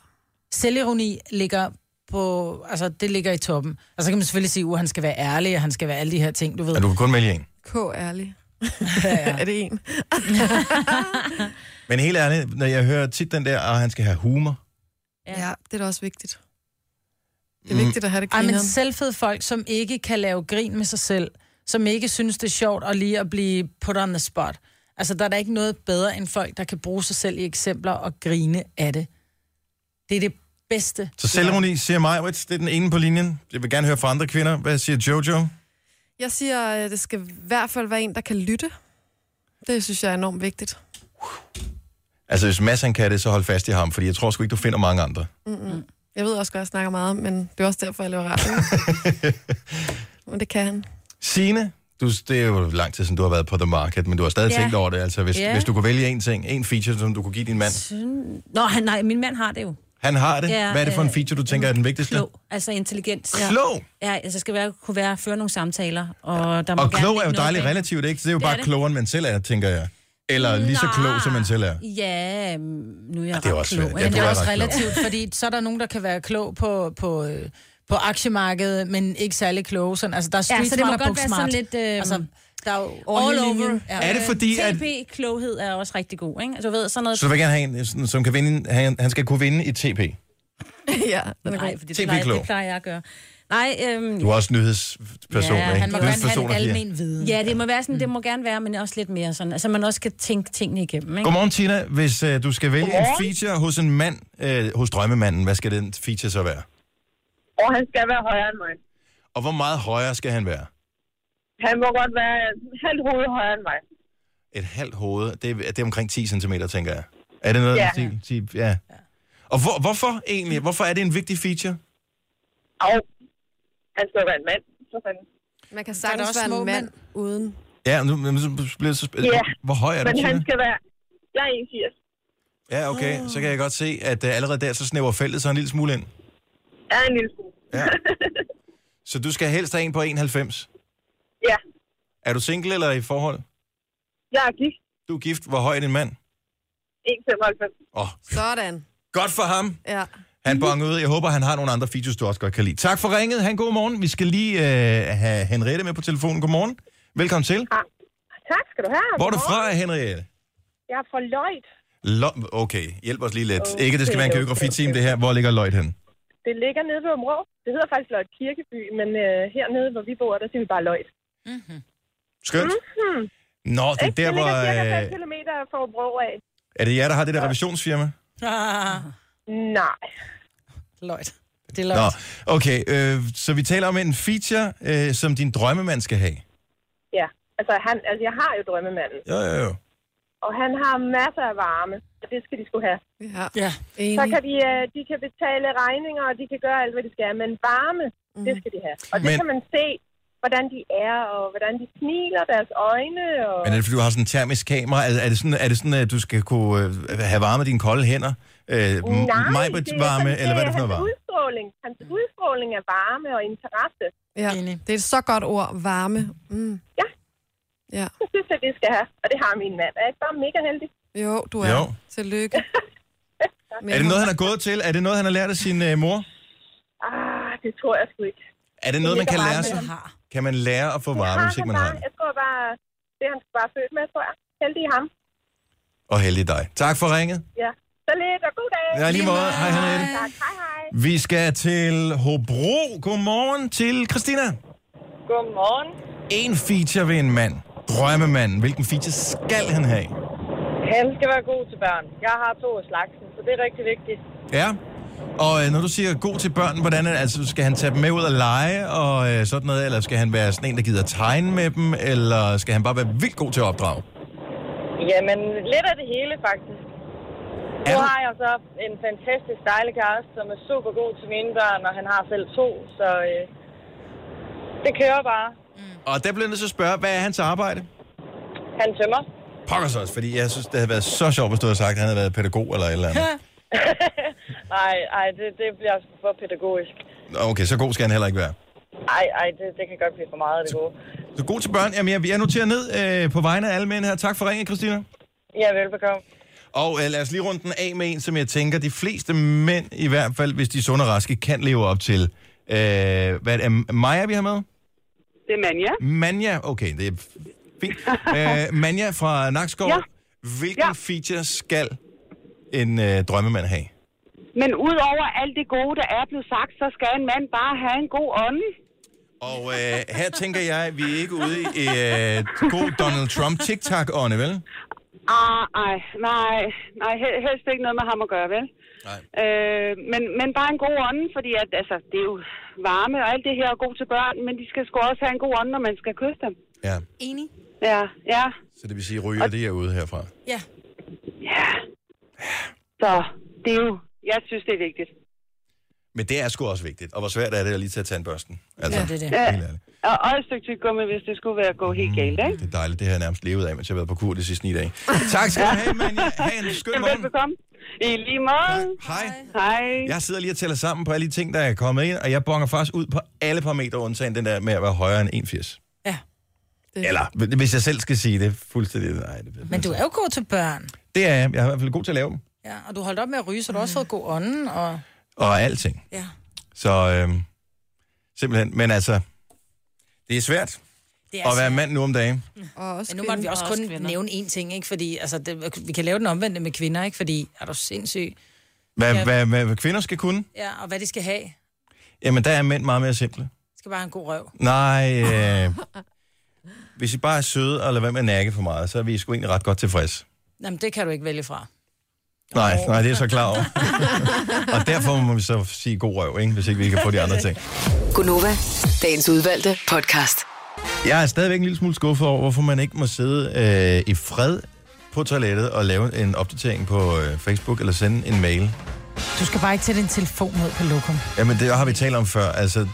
Speaker 8: Selvironi ligger på, altså det ligger i toppen. Og så kan man selvfølgelig sige, at han skal være ærlig, og han skal være alle de her ting, du ved.
Speaker 1: Men du kan kun vælge en.
Speaker 4: K ærlig.
Speaker 8: er
Speaker 4: det en?
Speaker 1: Men helt ærligt, når jeg hører tit den der, at han skal have humor.
Speaker 4: Ja. ja, det er da også vigtigt. Det er vigtigt at have det
Speaker 8: Ej, men
Speaker 4: grineren.
Speaker 8: selvfede folk, som ikke kan lave grin med sig selv, som ikke synes, det er sjovt at lige at blive put on the spot. Altså, der er da ikke noget bedre end folk, der kan bruge sig selv i eksempler og grine af det. Det er det bedste.
Speaker 1: Så selvironi siger mig, det er den ene på linjen. Jeg vil gerne høre fra andre kvinder. Hvad siger Jojo?
Speaker 4: Jeg siger, at det skal i hvert fald være en, der kan lytte. Det synes jeg er enormt vigtigt.
Speaker 1: Altså, hvis Mads han kan det, så hold fast i ham, fordi jeg tror sgu ikke, du finder mange andre.
Speaker 4: Mm-mm. Jeg ved også godt, at jeg snakker meget, men det er også derfor, jeg laver radio. men det kan han.
Speaker 1: Signe, du, det er jo lang tid siden, du har været på The Market, men du har stadig
Speaker 5: Ja.
Speaker 1: tænkt over det. Altså, hvis,
Speaker 5: Ja.
Speaker 1: hvis du kunne vælge en ting, en feature, som du kunne give din mand.
Speaker 5: Syn- Nå, han, nej, min mand har det jo.
Speaker 1: Han har det.
Speaker 5: Ja,
Speaker 1: Hvad er det for en
Speaker 5: øh,
Speaker 1: feature, du tænker er den vigtigste?
Speaker 5: Klog, altså intelligent.
Speaker 1: Klog?
Speaker 5: Ja, altså skal være, kunne være føre nogle samtaler. Og, der må
Speaker 1: Og
Speaker 5: gerne
Speaker 1: klog er jo
Speaker 5: ligge noget
Speaker 1: dejligt
Speaker 5: bag.
Speaker 1: relativt, ikke? Så det er jo
Speaker 5: Det er
Speaker 1: bare
Speaker 5: det.
Speaker 1: klogere, end man selv er, tænker jeg. Eller lige så klog, som man selv er.
Speaker 5: Ja, mm, nu er jeg
Speaker 1: Ah, det er
Speaker 5: ret
Speaker 1: også
Speaker 5: klog. ikke?
Speaker 1: svært. Ja,
Speaker 8: Men
Speaker 1: du
Speaker 8: det er
Speaker 1: er
Speaker 8: også
Speaker 1: ret klog.
Speaker 8: relativt, fordi så er der nogen, der kan være klog på, på, øh, på aktiemarkedet, men ikke særlig kloge. Sådan. Altså, der er street
Speaker 5: Ja, så det må
Speaker 8: smart og
Speaker 5: godt være
Speaker 8: book
Speaker 5: sådan
Speaker 8: smart.
Speaker 5: lidt... Øh,
Speaker 8: altså, der er jo
Speaker 5: all
Speaker 8: hele
Speaker 5: over.
Speaker 8: linjen.
Speaker 1: Er det fordi, at-
Speaker 5: TP-kloghed er også rigtig god, ikke? Altså, du ved, sådan noget...
Speaker 1: Så du vil gerne have en, øh, sådan- som kan vinde, han, han skal kunne vinde i TP.
Speaker 4: ja,
Speaker 5: Nej, fordi
Speaker 1: TP
Speaker 5: det plejer,
Speaker 1: klog.
Speaker 5: det plejer jeg at gøre. Nej, øhm,
Speaker 1: Du er også en nyhedsperson,
Speaker 5: ja,
Speaker 1: ikke?
Speaker 5: han må gerne have en
Speaker 1: Nyhedspersoner siger.
Speaker 5: almen viden. Ja, det må, være sådan, det må gerne være, men også lidt mere sådan. Altså, man også kan tænke tingene igennem, ikke?
Speaker 1: Godmorgen, Tina. Hvis øh, du skal vælge en
Speaker 5: Godmorgen.
Speaker 1: feature hos en mand, øh, hos drømmemanden, hvad skal den feature så være?
Speaker 11: Og han skal være højere end mig.
Speaker 1: Og hvor meget højere skal han være?
Speaker 11: Han må godt være halvt hoved højere end mig.
Speaker 1: Et halvt hoved, det er, det er omkring 10 cm, tænker jeg. Er det noget?
Speaker 11: Ja.
Speaker 1: Til, til, ja. Og hvor, hvorfor egentlig? Hvorfor er det en vigtig feature?
Speaker 11: Og han skal jo være en mand. Så fanden.
Speaker 4: Man kan
Speaker 11: sagtens
Speaker 4: også være en mand uden.
Speaker 1: Ja, nu men så bliver det så spændende.
Speaker 11: Ja,
Speaker 1: Hvor høj er du,
Speaker 11: Men han
Speaker 1: Tina?
Speaker 11: skal være... Jeg er 81.
Speaker 1: Ja, okay. Så kan jeg godt se, at øh, allerede der, så snæver feltet sig en lille smule ind.
Speaker 11: Jeg er en lille smule.
Speaker 1: Ja. Så du skal helst have en på 91.
Speaker 11: Ja,
Speaker 1: Er du single eller i forhold?
Speaker 11: jeg er gift.
Speaker 1: Du er gift. Hvor høj er din mand?
Speaker 11: 1,95.
Speaker 1: Åh, oh,
Speaker 4: Sådan.
Speaker 1: godt for ham.
Speaker 4: Ja.
Speaker 1: Han bonger ud. Jeg håber, han har nogle andre features, du også godt kan lide. Tak for ringet. Han god morgen. Vi skal lige øh, have Henriette med på telefonen. Godmorgen. Velkommen til.
Speaker 13: Ah, Tak skal du have.
Speaker 1: Hvor er du fra, Henriette?
Speaker 13: Jeg er fra Løjt.
Speaker 1: Lo- okay, hjælp os lige lidt.
Speaker 13: Okay,
Speaker 1: Ikke, det skal være en
Speaker 13: okay,
Speaker 1: geografiteam, det her. Hvor ligger Løjt hen?
Speaker 13: Det ligger nede ved Områ. Det hedder faktisk Løjt Kirkeby, men øh, hernede, hvor vi bor, der siger vi bare Løjt.
Speaker 1: Skønt.
Speaker 13: Hmm.
Speaker 1: Nå, det er der, hvor...
Speaker 13: ligger cirka
Speaker 1: Øh,
Speaker 13: 5 km fra Områ af.
Speaker 1: er det jer, der har det der revisionsfirma?
Speaker 8: Ah.
Speaker 13: Nej.
Speaker 8: Løjt. Det er
Speaker 1: Nå,
Speaker 8: løjt.
Speaker 1: okay. Øh, så vi taler om en feature, øh, som din drømmemand skal have.
Speaker 13: Ja, altså, han, altså jeg har jo drømmemanden,
Speaker 1: Jo, jo, jo.
Speaker 13: og han har masser af varme, og det skal de skulle have.
Speaker 4: Ja,
Speaker 8: ja
Speaker 13: Så kan de, øh, de kan betale regninger, og de kan gøre alt, hvad de skal, men varme, mm. det skal de have. Og det
Speaker 1: Men-
Speaker 13: kan man se, hvordan de er, og hvordan de smiler deres øjne. Og...
Speaker 1: Men er det, fordi du har sådan en termisk kamera? Er, er, det sådan, er det sådan, at du skal kunne øh, have varme af dine kolde hænder? Øh, m-
Speaker 13: Mm, det er
Speaker 1: varme,
Speaker 13: sådan,
Speaker 1: eller hvad er det for noget
Speaker 13: hans
Speaker 1: varme?
Speaker 13: Udstråling. Hans udstråling er varme og interesse.
Speaker 4: Ja. Det er et så godt ord, varme. Mm.
Speaker 13: Ja.
Speaker 4: Ja.
Speaker 13: Det synes jeg, det skal have. Og det har min mand. Er jeg ikke bare mega heldig?
Speaker 4: Jo, du er.
Speaker 1: Jo.
Speaker 4: Tillykke.
Speaker 1: Er det noget, han har gået til? Er det noget, han har lært af sin øh, mor?
Speaker 13: Ah, det tror jeg sgu ikke.
Speaker 1: Er det noget, man
Speaker 13: ligger
Speaker 1: kan
Speaker 13: bare
Speaker 1: lære
Speaker 13: med
Speaker 1: sig?
Speaker 13: ham.
Speaker 1: Kan man lære at få varme, hvis ikke man har
Speaker 13: bare,
Speaker 1: det?
Speaker 13: jeg tror bare, det er han sgu bare født med, tror jeg. Heldig ham.
Speaker 1: Og heldig dig. Tak for ringet.
Speaker 13: Ja. Så lidt, og god dag.
Speaker 1: Ja, lige måde. Hej, Henriette.
Speaker 13: Tak, hej, hej.
Speaker 1: Vi skal til Hobro. Godmorgen til Christina.
Speaker 12: Godmorgen.
Speaker 1: En feature ved en mand. Drømmemanden. Hvilken feature skal han have?
Speaker 12: Han skal være god til børn. Jeg har to af slagsen, så det er rigtig vigtigt.
Speaker 1: Ja. Og øh, når du siger god til børn, hvordan er, det? altså, skal han tage dem med ud og lege og øh, sådan noget? Eller skal han være sådan en, der gider tegne med dem? Eller skal han bare være vildt god til at opdrage?
Speaker 12: Jamen, lidt af det hele faktisk. Nu har jeg så en fantastisk dejlig kæreste, som er super god til mine børn, og han har selv to, så øh, det kører bare.
Speaker 1: Og der bliver jeg nødt til at spørge, hvad er hans arbejde?
Speaker 12: Han tømmer.
Speaker 1: Pokker så også, fordi jeg synes, det havde været så sjovt, hvis du havde sagt, at han havde været pædagog eller et eller andet.
Speaker 12: Nej, ej, det, det bliver sgu for pædagogisk.
Speaker 1: Nå, Okay, så god skal han heller ikke være.
Speaker 12: Ej, ej, det, det kan godt blive for meget af det gode.
Speaker 1: Så god til børn. Jamen, jeg, jeg noterer ned øh, på vegne af alle mænd her. Tak for ringen, Christina.
Speaker 12: Ja, velbekomme.
Speaker 1: Og øh, lad os lige runde den af med en, som jeg tænker, de fleste mænd, i hvert fald hvis de er sunde og raske, kan leve op til. Øh, hvad er det, Maja, vi har med?
Speaker 14: Det er Manja.
Speaker 1: Manja, okay, det er fint. øh, Manja fra Nakskov.
Speaker 14: Ja.
Speaker 1: Hvilken ja. feature skal en øh, drømmemand have?
Speaker 14: Men udover alt det gode, der er blevet sagt, så skal en mand bare have en god ånde.
Speaker 1: Og øh, her tænker jeg, at vi er ikke ude i øh, god Donald Trump TikTok-ånde, vel?
Speaker 14: Ah, ej, nej, nej, hel- helst ikke noget med ham at gøre, vel?
Speaker 1: Nej.
Speaker 14: Øh, men, men bare en god ånde, fordi at, altså, det er jo varme og alt det her er god til børn, men de skal sgu også have en god ånde, når man skal kysse dem.
Speaker 1: Ja.
Speaker 14: Enig. Ja, ja,
Speaker 1: Så det vil sige, ryger det er ude herfra.
Speaker 14: ja. Ja. Så det er jo, jeg synes, det er vigtigt.
Speaker 1: Men det er sgu også vigtigt. Og hvor svært er det at lige tage tandbørsten? Altså,
Speaker 14: Ja. Og, og et stykke tyggegummi, hvis det skulle være at gå helt galt, ikke?
Speaker 1: Det er dejligt, det har jeg nærmest levet af, mens jeg har været på kur de sidste ni dage. Tak skal du have, Manja. Ha' en skøn morgen.
Speaker 14: Velbekomme. I lige måde.
Speaker 1: Hej.
Speaker 14: Hej.
Speaker 1: Jeg sidder lige og tæller sammen på alle de ting, der er kommet ind, og jeg bonger faktisk ud på alle parametre, undtagen den der med at være højere end 81.
Speaker 8: Ja.
Speaker 1: Det. Eller, hvis jeg selv skal sige det, fuldstændig nej. Det,
Speaker 8: Men du er jo god til børn.
Speaker 1: det er jeg. Jeg er i hvert fald god til at lave dem.
Speaker 8: Ja, og du holdt op med at ryge, så du har også fået god ånden. Og...
Speaker 1: Og alting.
Speaker 8: Ja.
Speaker 1: Så øhm, simpelthen, men altså, det er svært
Speaker 8: Det
Speaker 1: det
Speaker 8: er
Speaker 1: er at være
Speaker 8: svært.
Speaker 1: mand nu om dagen.
Speaker 8: Og også Men nu måtte vi
Speaker 4: kvinder.
Speaker 8: også
Speaker 4: Og
Speaker 8: kun
Speaker 4: også kvinder.
Speaker 8: nævne én ting, ikke? Fordi altså, det, vi kan lave den omvendte med kvinder, ikke? Fordi er du sindssyg?
Speaker 1: Hvad,
Speaker 8: Ja.
Speaker 1: ja. hvad, hvad, hvad kvinder skal kunne,
Speaker 8: Ja, og hvad de skal have. De
Speaker 1: jamen der er mænd meget mere simple.
Speaker 8: skal bare have en god røv.
Speaker 1: Nej, øh, hvis I bare er søde og lader være med at nakke for meget, så er vi sgu egentlig ret godt tilfreds.
Speaker 8: Jamen, det kan du ikke vælge fra.
Speaker 1: Nej, nej, det er jeg så klar over. og derfor må vi så sige god røv, ikke? hvis ikke vi kan få de andre ting.
Speaker 6: Gunova, dagens udvalgte podcast.
Speaker 1: Jeg er stadigvæk en lille smule skuffet over, hvorfor man ikke må sidde øh, i fred på toilettet og lave en opdatering på øh, Facebook eller sende en mail.
Speaker 8: Du skal bare ikke tage din telefon ud på lokum.
Speaker 1: Jamen, det har vi talt om før. Altså,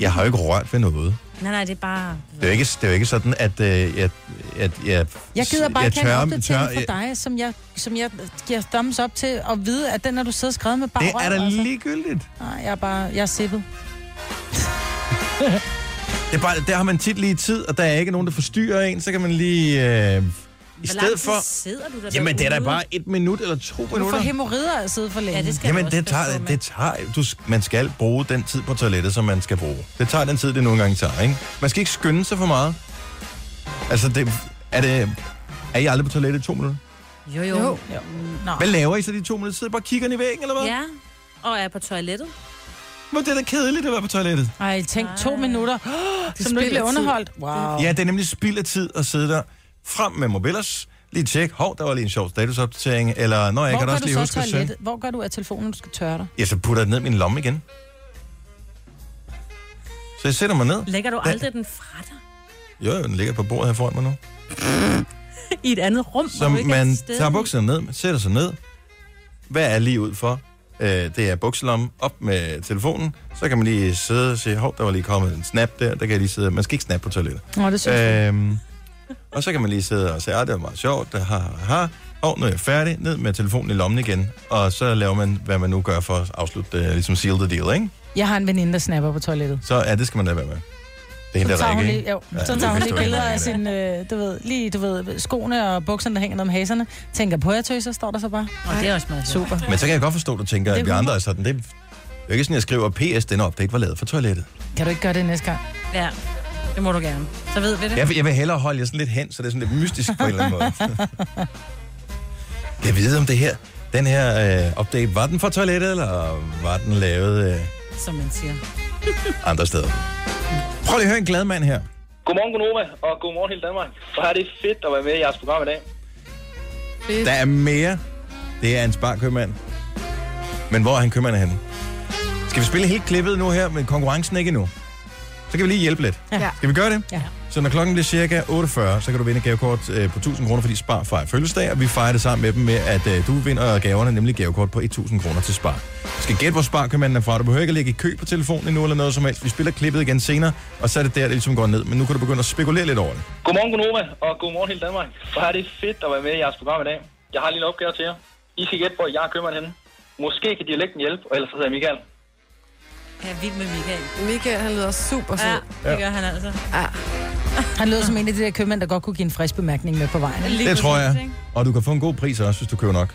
Speaker 1: jeg har jo ikke rørt ved noget.
Speaker 5: Nej, nej, det er bare...
Speaker 1: Det er jo ikke, det er jo ikke sådan, at, øh, jeg, at jeg...
Speaker 8: Jeg gider bare ikke have en opdatering
Speaker 1: jeg-
Speaker 8: for dig, som jeg, som jeg giver thumbs up til, og vide, at den har du siddet og skrevet med bare
Speaker 1: Det
Speaker 8: røv,
Speaker 1: er da
Speaker 8: altså.
Speaker 1: ligegyldigt.
Speaker 8: Nej, jeg er bare... Jeg er sippet.
Speaker 1: Det er bare, der har man tit lige tid, og der er ikke nogen, der forstyrrer en, så kan man lige... Øh, I stedet for...
Speaker 5: sidder du der
Speaker 1: Jamen, det er da bare et minut eller to
Speaker 8: Du får
Speaker 1: minutter.
Speaker 8: hemorrider at sidde for længe. Ja, det
Speaker 1: Jamen, det tager, det tager, du, sk- man skal bruge den tid på toilettet, som man skal bruge. Det tager den tid, det nogle gange tager, ikke? Man skal ikke skynde sig for meget. Altså, det, er det... Er I aldrig på toilettet i to minutter?
Speaker 5: Jo, jo.
Speaker 1: Jo.
Speaker 8: jo. Nå.
Speaker 1: Hvad laver I så de to minutter? Sidder I bare og kigger ind i væggen, eller hvad?
Speaker 5: Ja, og er på toilettet.
Speaker 1: Men det er da kedeligt at være på toilettet.
Speaker 8: Ej, tænk to minutter, oh, som du ikke bliver
Speaker 5: spilder tid.
Speaker 8: underholdt. Wow.
Speaker 1: Ja, det er nemlig spild af tid at sidde der frem med mobilers, lige tjek, hov, der var lige en sjov statusopdatering, eller når jeg
Speaker 8: Hvor
Speaker 1: kan
Speaker 8: gør
Speaker 1: da også
Speaker 8: du
Speaker 1: lige
Speaker 8: så
Speaker 1: huske at søge.
Speaker 8: toilettet? Hvor gør du af telefonen, du skal tørre dig?
Speaker 1: Ja, så putter jeg den ned i min lomme igen. Så jeg sætter mig ned.
Speaker 5: Lægger du
Speaker 1: Den-
Speaker 5: aldrig den fra dig
Speaker 1: Jo, jo, den ligger på bordet her foran mig nu.
Speaker 5: i et andet rum?
Speaker 1: Så man tager bukserne ned, man sætter sig ned. Hvad er lige ud for? Øh, det er bukselommen op med telefonen. Så kan man lige sidde og se, hov, der var lige kommet en snap der. Der kan jeg lige sidde. Man skal ikke snappe på toilettet.
Speaker 8: Nå, det synes jeg.
Speaker 1: Øhm, og så kan man lige sidde og sige, at det var meget sjovt, det har, har, har. Og nu er jeg færdig, ned med telefonen i lommen igen, og så laver man, hvad man nu gør for at afslutte, uh, ligesom seal the deal, ikke?
Speaker 8: Jeg har en veninde, der snapper på toilettet.
Speaker 1: Så ja, det skal man lade være med. Det er hende,
Speaker 8: Så
Speaker 1: der
Speaker 8: tager hun
Speaker 1: rækker,
Speaker 8: lige,
Speaker 1: ikke?
Speaker 8: jo,
Speaker 1: Ja,
Speaker 8: så
Speaker 1: det
Speaker 8: tager hun
Speaker 1: vidste
Speaker 8: lige
Speaker 1: du ikke,
Speaker 8: billeder af
Speaker 1: Rikke.
Speaker 8: sin, øh, du ved, lige, du ved, skoene og bukserne, der hænger ned om haserne. Tænker på, jeg tøser, står der så bare.
Speaker 5: Og det er også meget
Speaker 8: Super.
Speaker 1: Men så kan jeg godt forstå, at du tænker,
Speaker 8: Det er
Speaker 1: at vi andre er sådan. Det er det er ikke sådan, at jeg skriver, PS, den update var lavet for toilettet.
Speaker 8: Kan du ikke gøre det næste gang?
Speaker 5: Ja, det må du gerne. Så ved vi det.
Speaker 1: Jeg vil, jeg vil hellere holde jer sådan lidt hen, så det er sådan lidt mystisk på en eller anden måde. Jeg ved om det her, den her øh, update, var den fra toilettet, eller var den lavet øh,
Speaker 5: Som man siger.
Speaker 1: andre steder? Prøv lige at høre en glad mand her.
Speaker 3: Godmorgen, Gunova, og godmorgen hele Danmark. For her er det fedt at være med i jeres program i dag.
Speaker 1: Der er mere. Det er en sparkøbmand. Men hvor er han købmand henne? Skal vi spille helt klippet nu her, men konkurrencen er ikke endnu? Så kan vi lige hjælpe lidt.
Speaker 2: Ja.
Speaker 1: Skal vi gøre det?
Speaker 2: Ja.
Speaker 1: Så når klokken bliver cirka 8.40, så kan du vinde et gavekort øh, på 1000 kroner, fordi Spar fejrer fødselsdag, og vi fejrer det sammen med dem med, at øh, du vinder gaverne, nemlig gavekort på 1000 kroner til Spar. Du skal gætte, hvor Spar-købmanden er fra. Du behøver ikke at lægge i kø på telefonen endnu eller noget som helst. Vi spiller klippet igen senere, og så er det der, det ligesom går ned. Men nu kan du begynde at spekulere lidt over det.
Speaker 3: Godmorgen, Gunova, og godmorgen hele Danmark. For her er det fedt at være med i jeres program i dag. Jeg har lige en opgave til jer. I skal gætte, hvor jeg er købmand henne. Måske kan dialekten hjælpe, og ellers så hedder jeg Michael.
Speaker 5: Jeg er vild med Michael.
Speaker 4: Michael, han lyder super sød.
Speaker 5: Ja,
Speaker 1: Ja.
Speaker 5: det gør han altså.
Speaker 4: Ja.
Speaker 8: Han lød som en af de der købmænd, der godt kunne give en frisk bemærkning med på vejen.
Speaker 1: det tror jeg. Og du kan få en god pris også, hvis du køber nok.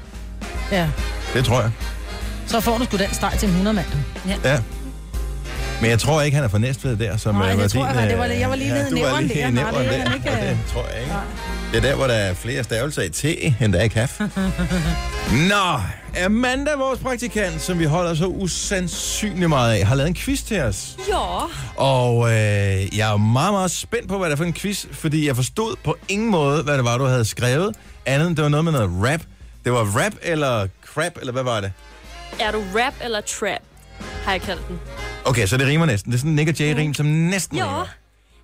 Speaker 8: Ja.
Speaker 1: Det tror jeg.
Speaker 8: Så får du sgu den steg til en 100 mand. Ja.
Speaker 1: Ja. Men jeg tror ikke, han er fra Næstved der, som
Speaker 8: Nej,
Speaker 1: øh, var
Speaker 8: det tror
Speaker 1: din,
Speaker 8: jeg var- det var-
Speaker 1: øh,
Speaker 8: jeg var lige nede i
Speaker 1: du var
Speaker 8: næveren
Speaker 1: lige
Speaker 8: der.
Speaker 1: i
Speaker 8: Nej,
Speaker 1: næveren
Speaker 8: det er
Speaker 1: der.
Speaker 8: han ikke,
Speaker 1: og
Speaker 8: øh,
Speaker 1: det tror jeg ikke. Det er der, hvor der er flere stavelser i T, end der er i kaf. Nå, Amanda, vores praktikant, som vi holder så usandsynlig meget af, har lavet en quiz til os.
Speaker 15: Ja.
Speaker 1: Og øh, jeg er meget, meget spændt på, hvad det er for en quiz, fordi jeg forstod på ingen måde, hvad det var, du havde skrevet. Andet end det var noget med noget rap. Det var rap eller crap, eller hvad var det?
Speaker 15: Er du rap eller trap, har jeg kaldt den.
Speaker 1: Okay, så det rimer næsten. Det er sådan en Nick J-rim, som næsten
Speaker 15: Mm. Jo.
Speaker 1: rimer.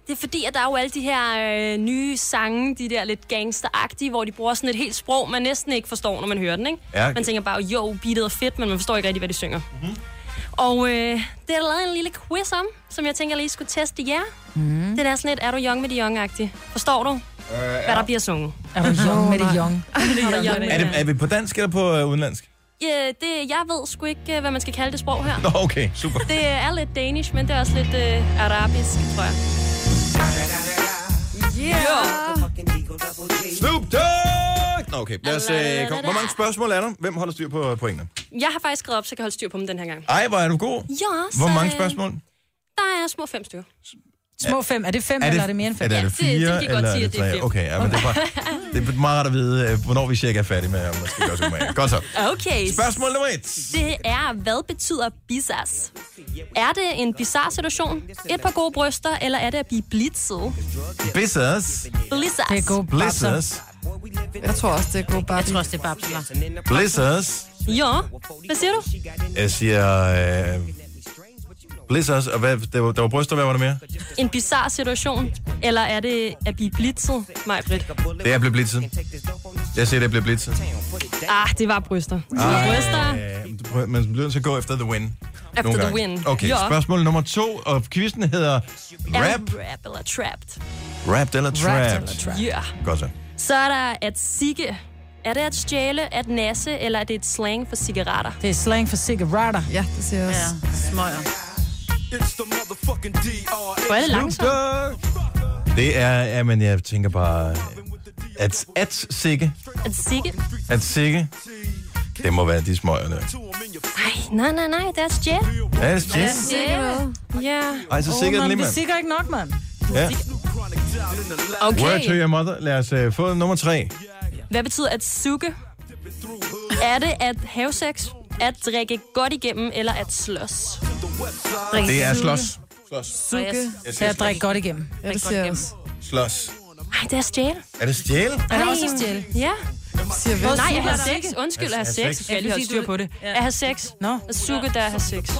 Speaker 15: Det er fordi, at der er jo alle de her øh, nye sange, de der lidt gangsteragtige, hvor de bruger sådan et helt sprog, man næsten ikke forstår, når man hører den, ikke?
Speaker 1: Ja.
Speaker 15: Man tænker bare, jo, beatet er fedt, men man forstår ikke rigtig, hvad de synger. Mm-hmm. Og øh, det er der lavet en lille quiz om, som jeg tænker lige skulle teste jer. Mm. Det er sådan lidt, er du young med de young-agtige? Forstår du, øh, hvad der bliver sunget?
Speaker 8: Er du young med det young?
Speaker 15: Er du young med
Speaker 1: Er, det, er vi på dansk eller på øh, udenlandsk?
Speaker 15: Ja, det, jeg ved sgu ikke, øh, hvad man skal kalde det sprog her.
Speaker 1: Nå, okay, super.
Speaker 15: Det er lidt danish, men det er også lidt øh, arabisk, tror jeg.
Speaker 4: Yeah.
Speaker 1: Snoop Dogg! Nå, okay. Lad os, øh, kom. Hvor mange spørgsmål er der? Hvem holder styr på øh, pointene?
Speaker 15: Jeg har faktisk skrevet op, så jeg kan holde styr på dem den her gang.
Speaker 1: Ej, hvor er du god.
Speaker 15: Ja, så,
Speaker 1: Hvor mange
Speaker 15: øh,
Speaker 1: spørgsmål?
Speaker 15: Der er små fem stykker.
Speaker 8: Små fem. Er det fem,
Speaker 1: Er det-
Speaker 8: eller er det mere end fem?
Speaker 1: Er det, er det fire,
Speaker 15: det gik godt
Speaker 1: eller
Speaker 15: sige,
Speaker 1: er det
Speaker 15: at det er
Speaker 1: tre?
Speaker 15: fem.
Speaker 1: Okay, ja, men det er, bare, det er meget rart at vide, øh, hvornår vi cirka er færdige med, om der skal gøres umage. Godt så.
Speaker 15: Okay.
Speaker 1: Spørgsmål nummer et.
Speaker 15: Det er, hvad betyder bizars? Er det en bizar situation? Et par gode bryster, eller er det at blive blitzet?
Speaker 1: Blizzards.
Speaker 15: Blizzards.
Speaker 8: Det er gode
Speaker 1: Blizzards.
Speaker 4: Jeg tror også, det er god babser. Jeg
Speaker 5: tror også, det er babser.
Speaker 1: Blizzards.
Speaker 15: Jo. Hvad siger du?
Speaker 1: Jeg siger... Øh, blizzards. Og hvad, der, var, der var bryster, hvad var der mere?
Speaker 15: En bizar situation? Eller er det at blive blitzet, mig Britt?
Speaker 1: Det er blevet blitzet. Jeg siger, det er blevet blitzet.
Speaker 15: Ah, det var bryster.
Speaker 1: Ej.
Speaker 15: Ah. Bryster.
Speaker 1: Øh, Du prøver- Man bliver nødt til at gå efter the win.
Speaker 15: Efter
Speaker 1: Nogle
Speaker 15: the
Speaker 1: gange.
Speaker 15: win.
Speaker 1: Okay,
Speaker 15: Ja.
Speaker 1: spørgsmål nummer to, og quizzen hedder
Speaker 15: Er
Speaker 1: rap,
Speaker 15: det rap eller trapped?
Speaker 1: rap eller trap.
Speaker 15: Ja.
Speaker 1: Godt så.
Speaker 15: Så er der at sigge. Er det at stjæle, at nasse, eller er det et slang for cigaretter?
Speaker 8: Det er slang for cigaretter.
Speaker 4: Ja, det siger jeg også.
Speaker 8: Ja, smøger.
Speaker 15: Hvor er det
Speaker 1: langsomt? Det er, ja, men jeg tænker bare, at, at sikke,
Speaker 15: At sigge?
Speaker 1: at sikke, det må være de smøgerne.
Speaker 15: Ej, nej, nej, nej, det er at stjæle.
Speaker 1: Ja, det er stjæle.
Speaker 15: Ja.
Speaker 1: Ej, så sikkert lige, mand.
Speaker 8: sikkert ikke nok, mand.
Speaker 1: Ja.
Speaker 15: Okay.
Speaker 1: Word to your mother. Lad os uh, få nummer tre.
Speaker 15: Hvad betyder at suge? Er det at have sex, at drikke godt igennem, eller at slås?
Speaker 1: Det er slås. Slås.
Speaker 15: Suge.
Speaker 1: Jeg
Speaker 8: Så
Speaker 1: siger
Speaker 8: jeg drikker godt igennem.
Speaker 4: Ja, det
Speaker 15: siger jeg
Speaker 1: Slås.
Speaker 15: Ej, det er at stjæle.
Speaker 1: Er det stjæle?
Speaker 8: Er det også at stjæle?
Speaker 15: Ja.
Speaker 4: Siger
Speaker 8: hvem?
Speaker 15: Nej, at have
Speaker 8: Suge.
Speaker 15: sex. Undskyld, at have
Speaker 8: At have sex.
Speaker 15: sex. Jeg
Speaker 8: Ja, fordi
Speaker 15: lige holde styr
Speaker 8: du-
Speaker 15: på det. At have sex.
Speaker 8: Nå.
Speaker 15: At suge, der er at have sex.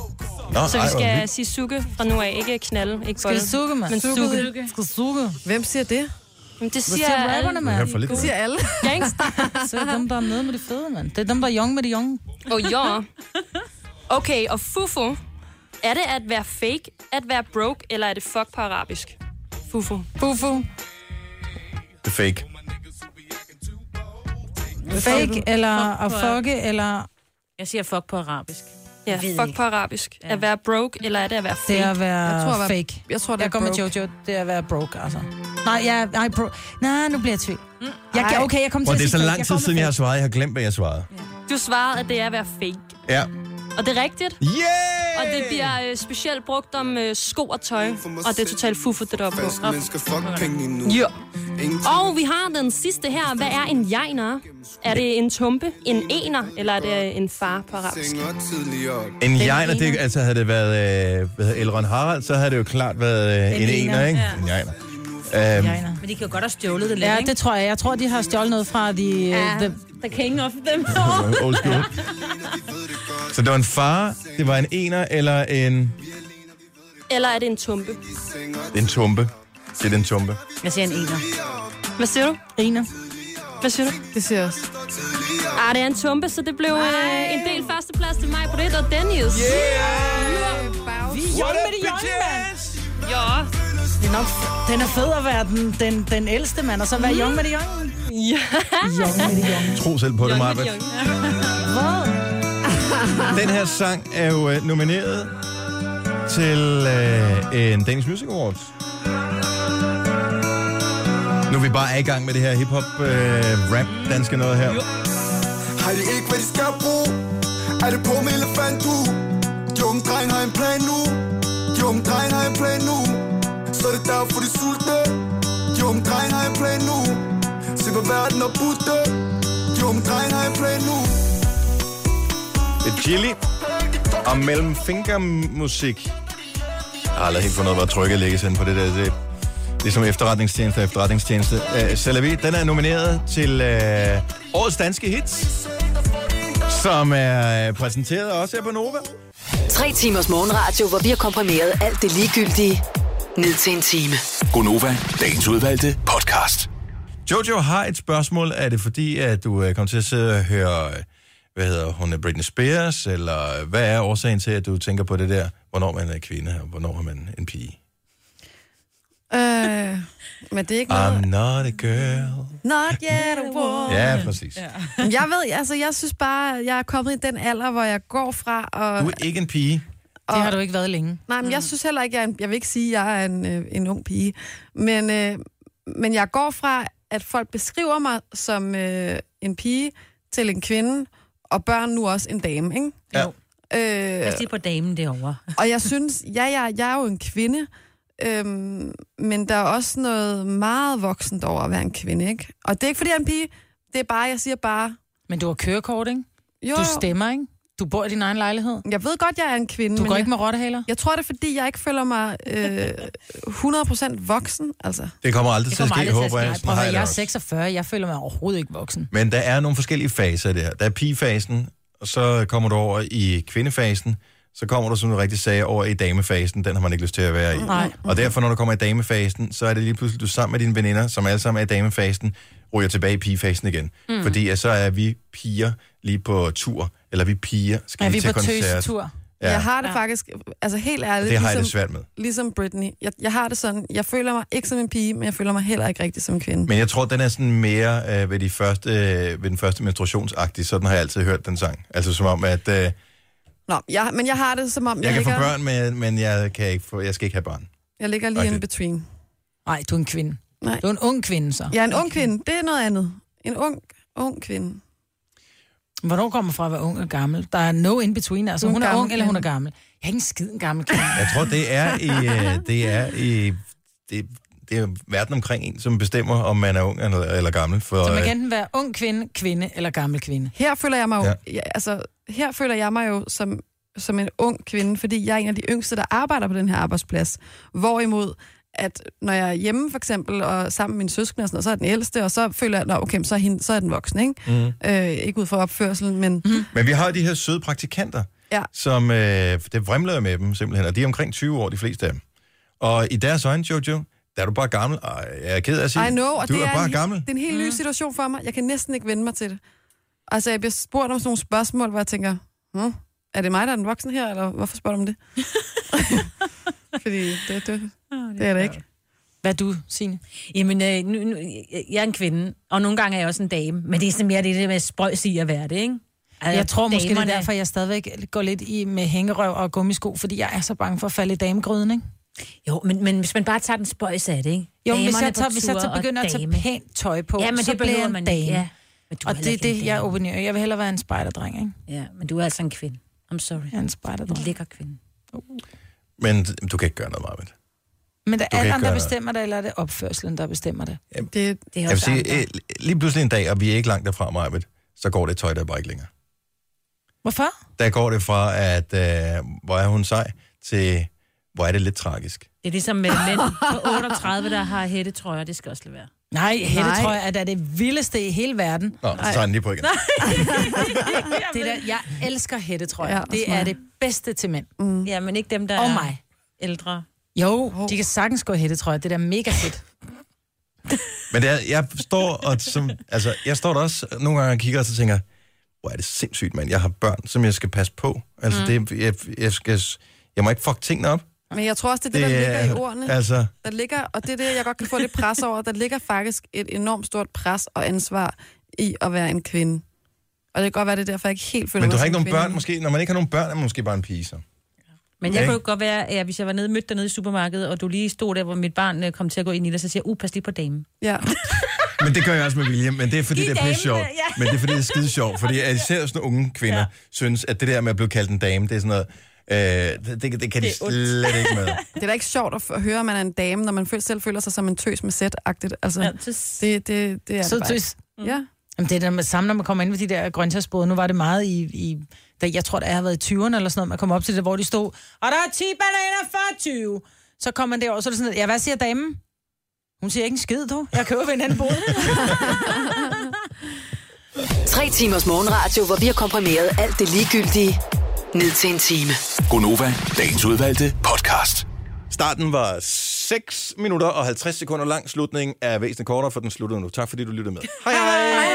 Speaker 1: Nå,
Speaker 15: Så
Speaker 1: ej,
Speaker 15: vi
Speaker 1: hvor
Speaker 15: skal
Speaker 1: vildt.
Speaker 15: sige suge fra nu af. Ikke knalde, ikke
Speaker 8: Skal
Speaker 15: bolle.
Speaker 8: det suge, mand?
Speaker 15: Men suge.
Speaker 8: Skal det suge?
Speaker 4: Hvem siger det?
Speaker 15: Men det
Speaker 8: Hvad
Speaker 15: siger,
Speaker 8: siger rapperne,
Speaker 1: Det er
Speaker 8: mand?
Speaker 1: for lidt. Det siger
Speaker 4: alle.
Speaker 15: Gangster.
Speaker 8: Så er det dem, der er nede med det fede, mand. Det er dem, der er young med det young.
Speaker 15: Og ja. Okay, og fufu. Er det at være fake, at være broke, eller er det fuck på arabisk? Fufu.
Speaker 8: Fufu.
Speaker 1: Det er fake.
Speaker 8: Fake eller
Speaker 5: Fuck
Speaker 8: at
Speaker 5: på-
Speaker 8: fucke, eller
Speaker 5: Jeg siger fuck på arabisk.
Speaker 15: Ja,
Speaker 5: Ved
Speaker 15: fuck på arabisk. Ja. At være broke, eller er det at være fake?
Speaker 8: det er at være jeg tror,
Speaker 15: at være-
Speaker 8: fake.
Speaker 4: Jeg tror, det
Speaker 8: jeg
Speaker 4: er
Speaker 8: går med
Speaker 4: broke.
Speaker 8: Jojo. Det er at være broke, altså. Nej, jeg, nej, bro. nej nu bliver jeg i tvivl. Jeg, kan- okay, jeg kommer til
Speaker 1: Og
Speaker 8: at
Speaker 1: det
Speaker 8: sige
Speaker 1: er så
Speaker 8: fake.
Speaker 1: lang
Speaker 8: Jeg
Speaker 1: tid
Speaker 8: går med
Speaker 1: siden, jeg har svaret. Jeg har glemt, hvad jeg svarede.
Speaker 15: Du svarede, at det er at være fake.
Speaker 1: Ja.
Speaker 15: Og det er rigtigt.
Speaker 1: Yeah!
Speaker 15: Og det bliver øh, specielt brugt om øh, sko og tøj. Og det er totalt fuffet, det der er på. Ja. Og vi har den sidste her. Hvad er en jegner? Er det en tumpe, en ener, eller er det øh, en far på arabisk?
Speaker 1: En jegner, det, altså havde det været øh, hvad hedder Elrond Harald, så havde det jo klart været øh,
Speaker 5: En
Speaker 1: en, en ener,
Speaker 5: ener,
Speaker 1: ikke?
Speaker 5: ja.
Speaker 1: En jegner. Øhm,
Speaker 5: Men de kan jo godt have stjålet det lidt,
Speaker 2: Ja,
Speaker 5: ikke?
Speaker 2: det tror jeg. Jeg tror, de har stjålet noget fra de...
Speaker 8: øh,
Speaker 5: Ja,
Speaker 2: Ja. The...
Speaker 5: the king of them.
Speaker 1: old school. Så det var en far, det var en ener eller en,
Speaker 15: Eller er det en tumpe?
Speaker 1: en tumpe. Det er den tumpe.
Speaker 5: Jeg siger en ener.
Speaker 15: Hvad siger du?
Speaker 2: Ener.
Speaker 15: Hvad siger du?
Speaker 4: Det siger jeg også.
Speaker 15: Ah, det er en tumpe, så det blev øh, en del førsteplads til mig, Britt og Dennis.
Speaker 4: Yeah!
Speaker 2: Vi er
Speaker 15: What
Speaker 2: jolde
Speaker 15: up,
Speaker 2: med det jolde, mand.
Speaker 15: Ja.
Speaker 2: Det er nok, den er fed at være den, den, den ældste mand, og så være
Speaker 15: Mm.
Speaker 2: jong med det jong.
Speaker 15: Ja.
Speaker 2: Jong med det jong.
Speaker 1: Tro selv på det, Marvind. Den her sang er jo øh, nomineret til øh, en Danish Music Awards. Nu er vi bare i gang med det her hiphop, øh, rap, danske noget her.
Speaker 16: Har de ikke, hvad de skal bruge? Er det på med elefant, du? De unge dreng har en plan nu. De unge dreng har en plan nu. Så er det derfor, de sulte. De unge dreng har en plan nu. Se, hvad verden har budt dem. De unge dreng har en plan nu.
Speaker 1: Det er Chili og mellemfingermusik. Jeg har aldrig helt fundet, ud af, hvor trykket lægges hen på det der. Det, det er som efterretningstjeneste og efterretningstjeneste. Uh, Salavi, den er nomineret til uh, Årets Danske Hits, som er øh, præsenteret også her på Nova.
Speaker 6: Tre timers morgenradio, hvor vi har komprimeret alt det ligegyldige ned til en time.
Speaker 7: Gonova, dagens udvalgte podcast.
Speaker 1: Jojo har et spørgsmål. Er det fordi, at du øh, kom til at sidde og høre, øh, hvad hedder hun, øh, Britney Spears? Eller øh, hvad er årsagen til, at du tænker på det der, hvornår man er kvinde, og hvornår er man en pige?
Speaker 4: Øh, men det er ikke noget...
Speaker 1: I'm not a girl.
Speaker 4: Not yet a woman.
Speaker 1: Um. Ja, præcis.
Speaker 4: Jeg ved, altså jeg synes bare, jeg er kommet i den alder, hvor jeg går fra og...
Speaker 1: Du er ikke en pige.
Speaker 4: og-
Speaker 2: Det har du ikke været længe.
Speaker 4: Nej, men jeg synes heller ikke, jeg er en, jeg vil ikke sige, at jeg er en, øh, en ung pige, men, øh, men jeg går fra, at folk beskriver mig som øh, en pige til en kvinde, og børn nu også en dame, ikke?
Speaker 1: Ja.
Speaker 4: Øh,
Speaker 5: Jeg siger på damen derovre.
Speaker 4: og jeg synes, ja, jeg, jeg er jo en kvinde, øhm, men der er også noget meget voksent over at være en kvinde, ikke? Og det er ikke, fordi jeg er en pige, det er bare, jeg siger bare...
Speaker 2: Men du har kørekort, ikke?
Speaker 4: Jo.
Speaker 2: Du stemmer, ikke? Du bor i din egen lejlighed.
Speaker 4: Jeg ved godt, jeg er en kvinde.
Speaker 2: Du
Speaker 4: men
Speaker 2: går
Speaker 4: jeg,
Speaker 2: ikke med rottehaler?
Speaker 4: Jeg tror, det er, fordi jeg ikke føler mig øh, 100% voksen, altså.
Speaker 1: Det kommer aldrig
Speaker 2: Det
Speaker 1: til at
Speaker 2: kommer
Speaker 1: ske,
Speaker 2: aldrig til at
Speaker 1: håber
Speaker 2: ske.
Speaker 1: jeg.
Speaker 2: Nej,
Speaker 1: Sådan
Speaker 2: prøv at
Speaker 1: har
Speaker 2: høre, jeg
Speaker 1: jeg det
Speaker 2: er
Speaker 1: også.
Speaker 2: 46, jeg føler mig overhovedet ikke voksen.
Speaker 1: Men der er nogle forskellige faser i det her. Der er pigefasen, og så kommer du over i kvindefasen, så kommer du, som du rigtig sagde, over i damefasen. Den har man ikke lyst til at være i.
Speaker 7: Nej.
Speaker 1: Og derfor, når du kommer i damefasen, så er det lige pludselig, du sammen med dine veninder, som alle sammen er i damefasen, ryger tilbage i pigefasen igen. Mm.
Speaker 2: Mm.
Speaker 1: Fordi at så er vi piger lige på tur, eller vi piger skal
Speaker 4: Er
Speaker 1: lige
Speaker 4: vi
Speaker 1: til
Speaker 4: på
Speaker 1: koncert.
Speaker 4: tøsetur?
Speaker 1: Ja.
Speaker 4: Ja. Jeg har det ja. faktisk, altså helt ærligt...
Speaker 1: Det har jeg det svært med.
Speaker 4: Ligesom Britney. Jeg, jeg har det sådan, jeg føler mig ikke som en pige, men jeg føler mig heller ikke rigtig som en kvinde.
Speaker 1: Men jeg tror, den er sådan mere øh, ved, de første, øh, ved den første menstruationsagtige. Sådan har jeg altid hørt den sang. Altså som om, at øh,
Speaker 4: Nå, jeg, men jeg har det som om,
Speaker 1: jeg kan
Speaker 4: ligger,
Speaker 1: få børn, men, men jeg, kan ikke få, jeg skal ikke have børn.
Speaker 4: jeg ligger lige
Speaker 1: Okay.
Speaker 4: okay. in between.
Speaker 2: Nej, du er en kvinde.
Speaker 4: Nej.
Speaker 2: Du er en ung kvinde, så.
Speaker 4: Jeg er en ung kvinde, det er noget andet. En ung, ung kvinde.
Speaker 2: Hvornår kommer fra at være ung og gammel? Der er no in between. Altså,
Speaker 4: Du er en
Speaker 2: hun er
Speaker 4: gammel
Speaker 2: ung, eller hun er
Speaker 4: kvinde.
Speaker 2: gammel. Jeg er ikke en skid en gammel kvinde.
Speaker 1: Jeg tror, det er i, øh, det er i det, det er verden omkring en, som bestemmer, om man er ung eller, eller gammel. For,
Speaker 2: Så man
Speaker 1: øh,
Speaker 2: kan enten være ung kvinde, kvinde eller gammel kvinde.
Speaker 4: Her føler jeg mig jo, ja. altså, her føler jeg mig jo som, som en ung kvinde, fordi jeg er en af de yngste, der arbejder på den her arbejdsplads. Hvorimod, at når jeg er hjemme for eksempel, og sammen med min søskende, og sådan noget, så er jeg den ældste, og så føler jeg, at okay, men så er, hende, så er den voksen, ikke?
Speaker 1: Mhm.
Speaker 4: Øh, ikke ud fra opførselen, men... Mm.
Speaker 1: men vi har de her søde praktikanter,
Speaker 4: Ja.
Speaker 1: som øh, det vrimler jo med dem simpelthen, og de er omkring 20 år, de fleste af dem. Og i deres øjne, Jojo, der er du bare gammel. Ej, jeg er ked af at sige,
Speaker 4: I know, og
Speaker 1: du
Speaker 4: det
Speaker 1: er,
Speaker 4: er,
Speaker 1: bare
Speaker 4: en,
Speaker 1: gammel.
Speaker 4: Det er en helt ny situation for mig. Jeg kan næsten ikke vende mig til det. Altså, jeg bliver spurgt om sådan nogle spørgsmål, hvor jeg tænker, hm, er det mig, der er den voksen her, eller hvorfor spørger du om det? Fordi det, det, det er det ikke.
Speaker 2: Hvad er du, Signe?
Speaker 5: Jamen, øh, nu, nu, jeg er en kvinde, og nogle gange er jeg også en dame. Men det er sådan mere det, der med sprøjs i at være det, ikke? Altså,
Speaker 2: Jeg tror måske, det er
Speaker 5: damerne-
Speaker 2: derfor, jeg stadigvæk går lidt i med hængerøv og gummisko, fordi jeg er så bange for at falde i damegryden, ikke?
Speaker 5: Jo, men, men hvis man bare tager den spøjs af det, ikke?
Speaker 2: Jo, men hvis
Speaker 5: Damerne
Speaker 2: jeg,
Speaker 5: på
Speaker 2: tager, hvis jeg
Speaker 5: tur
Speaker 2: tager,
Speaker 5: og
Speaker 2: begynder at tage
Speaker 5: dame.
Speaker 2: pænt tøj på,
Speaker 5: Ja, men
Speaker 2: så
Speaker 5: det
Speaker 2: bliver jeg
Speaker 5: behøver
Speaker 2: en
Speaker 5: man
Speaker 2: dame.
Speaker 5: ikke. Ja, men du er
Speaker 2: og
Speaker 5: heller
Speaker 2: det er
Speaker 5: ikke en
Speaker 2: det, jeg
Speaker 5: dame.
Speaker 2: opponerer. Jeg vil hellere være en spejderdreng, ikke?
Speaker 5: Ja, men du er altså en kvinde. I'm sorry.
Speaker 8: Jeg er en spejderdreng.
Speaker 5: En lækker kvinde.
Speaker 1: Men du kan ikke gøre noget, Marvind.
Speaker 8: Men det
Speaker 1: Du
Speaker 8: er
Speaker 1: kan
Speaker 8: alle
Speaker 1: ikke
Speaker 8: andre, der
Speaker 1: gøre-
Speaker 8: bestemmer det, eller er det opførselen, der bestemmer det?
Speaker 1: Jamen,
Speaker 4: det,
Speaker 8: det
Speaker 1: Jeg vil sige, øh, lige pludselig en dag, og vi er ikke langt derfra, Marvind, så går det tøj, der bare ikke længere.
Speaker 8: Hvorfor?
Speaker 1: Der går det fra, at øh, hvor er hun sej, til hvor er det lidt tragisk.
Speaker 5: Det er ligesom med mænd på 38, der har hættetrøjer. Det skal også lade være.
Speaker 8: Nej, Hette
Speaker 5: Nej.
Speaker 8: tror jeg, at det er det vildeste i hele verden.
Speaker 1: Nå, så tager den lige på igen.
Speaker 8: det der, jeg elsker hætte, tror
Speaker 5: Ja,
Speaker 8: jeg. Ja, det
Speaker 5: også
Speaker 8: er
Speaker 5: mig.
Speaker 8: det bedste til mænd.
Speaker 4: Mm.
Speaker 5: Ja, men ikke dem, der
Speaker 8: Og
Speaker 5: er
Speaker 8: mig.
Speaker 5: ældre.
Speaker 8: Jo, de kan sagtens gå i hætte, tror jeg. Det er da mega fedt.
Speaker 1: Men det er, jeg står og som, altså, jeg står der også nogle gange og kigger, og så tænker, jeg, hvor er det sindssygt, mand. Jeg har børn, som jeg skal passe på. Altså,
Speaker 4: Mm.
Speaker 1: mm. det, jeg, jeg, skal, jeg må ikke fuck tingene op.
Speaker 4: Men jeg tror også, det er det,
Speaker 1: Det
Speaker 4: det der ligger
Speaker 1: er-
Speaker 4: i ordene.
Speaker 1: altså-
Speaker 4: Der ligger, og det er det, jeg godt kan få lidt pres over. Der ligger faktisk et enormt stort pres og ansvar i at være en kvinde. Og det kan godt være, det er derfor, jeg ikke helt føler
Speaker 1: Men du
Speaker 4: mig
Speaker 1: har
Speaker 4: som
Speaker 1: ikke nogen
Speaker 4: kvinde.
Speaker 1: børn, måske. Når man ikke har nogen børn, er man måske bare en pige, så.
Speaker 5: Men
Speaker 1: Ja,
Speaker 5: jeg kunne jo
Speaker 1: ikke?
Speaker 5: godt være, at hvis jeg var nede mødt dig nede i supermarkedet, og du lige stod der, hvor mit barn øh, kom til at gå ind i det, så siger jeg, uh, pas lige på damen.
Speaker 4: Ja.
Speaker 1: Men det gør jeg også med William, men det er fordi,
Speaker 5: De
Speaker 1: det er pisse
Speaker 5: damer,
Speaker 1: sjovt.
Speaker 5: ja.
Speaker 1: Men det er fordi, det er skide sjovt, fordi at især sådan nogle unge kvinder ja. synes, at det der med at blive kaldt en dame, det er sådan noget, øh, det, det, det kan
Speaker 4: Det
Speaker 1: det
Speaker 4: er
Speaker 1: de
Speaker 4: ondt.
Speaker 1: slet ikke med.
Speaker 4: Det er da ikke sjovt at f- høre, at man er en dame, når man føl- selv føler sig som en tøs med sæt-agtigt. Altså,
Speaker 8: Ja,
Speaker 4: ja, det, det, det, det er
Speaker 8: Så
Speaker 4: det bare
Speaker 8: tøs. Mm.
Speaker 4: ikke. Ja.
Speaker 8: Jamen, det er det med samme, når man kommer ind ved de der grøntsagsboder. Nu var det meget i... i da jeg tror, da jeg har været i 20'erne eller sådan noget, man kom op til det, hvor de stod, og der er 10 bananer for 20. Så kom man derover, så er det sådan, at, ja, hvad siger damen? Hun siger ikke en skid, du. Jeg køber ved en anden bod.
Speaker 6: Tre timers morgenradio, hvor vi har komprimeret alt det ligegyldige ned til en time.
Speaker 17: Gonova, dagens udvalgte podcast.
Speaker 1: Starten var 6 minutter og 50 sekunder lang. Slutningen er væsentligt kortere, for den sluttede nu. Tak fordi du lyttede med. Hej hej!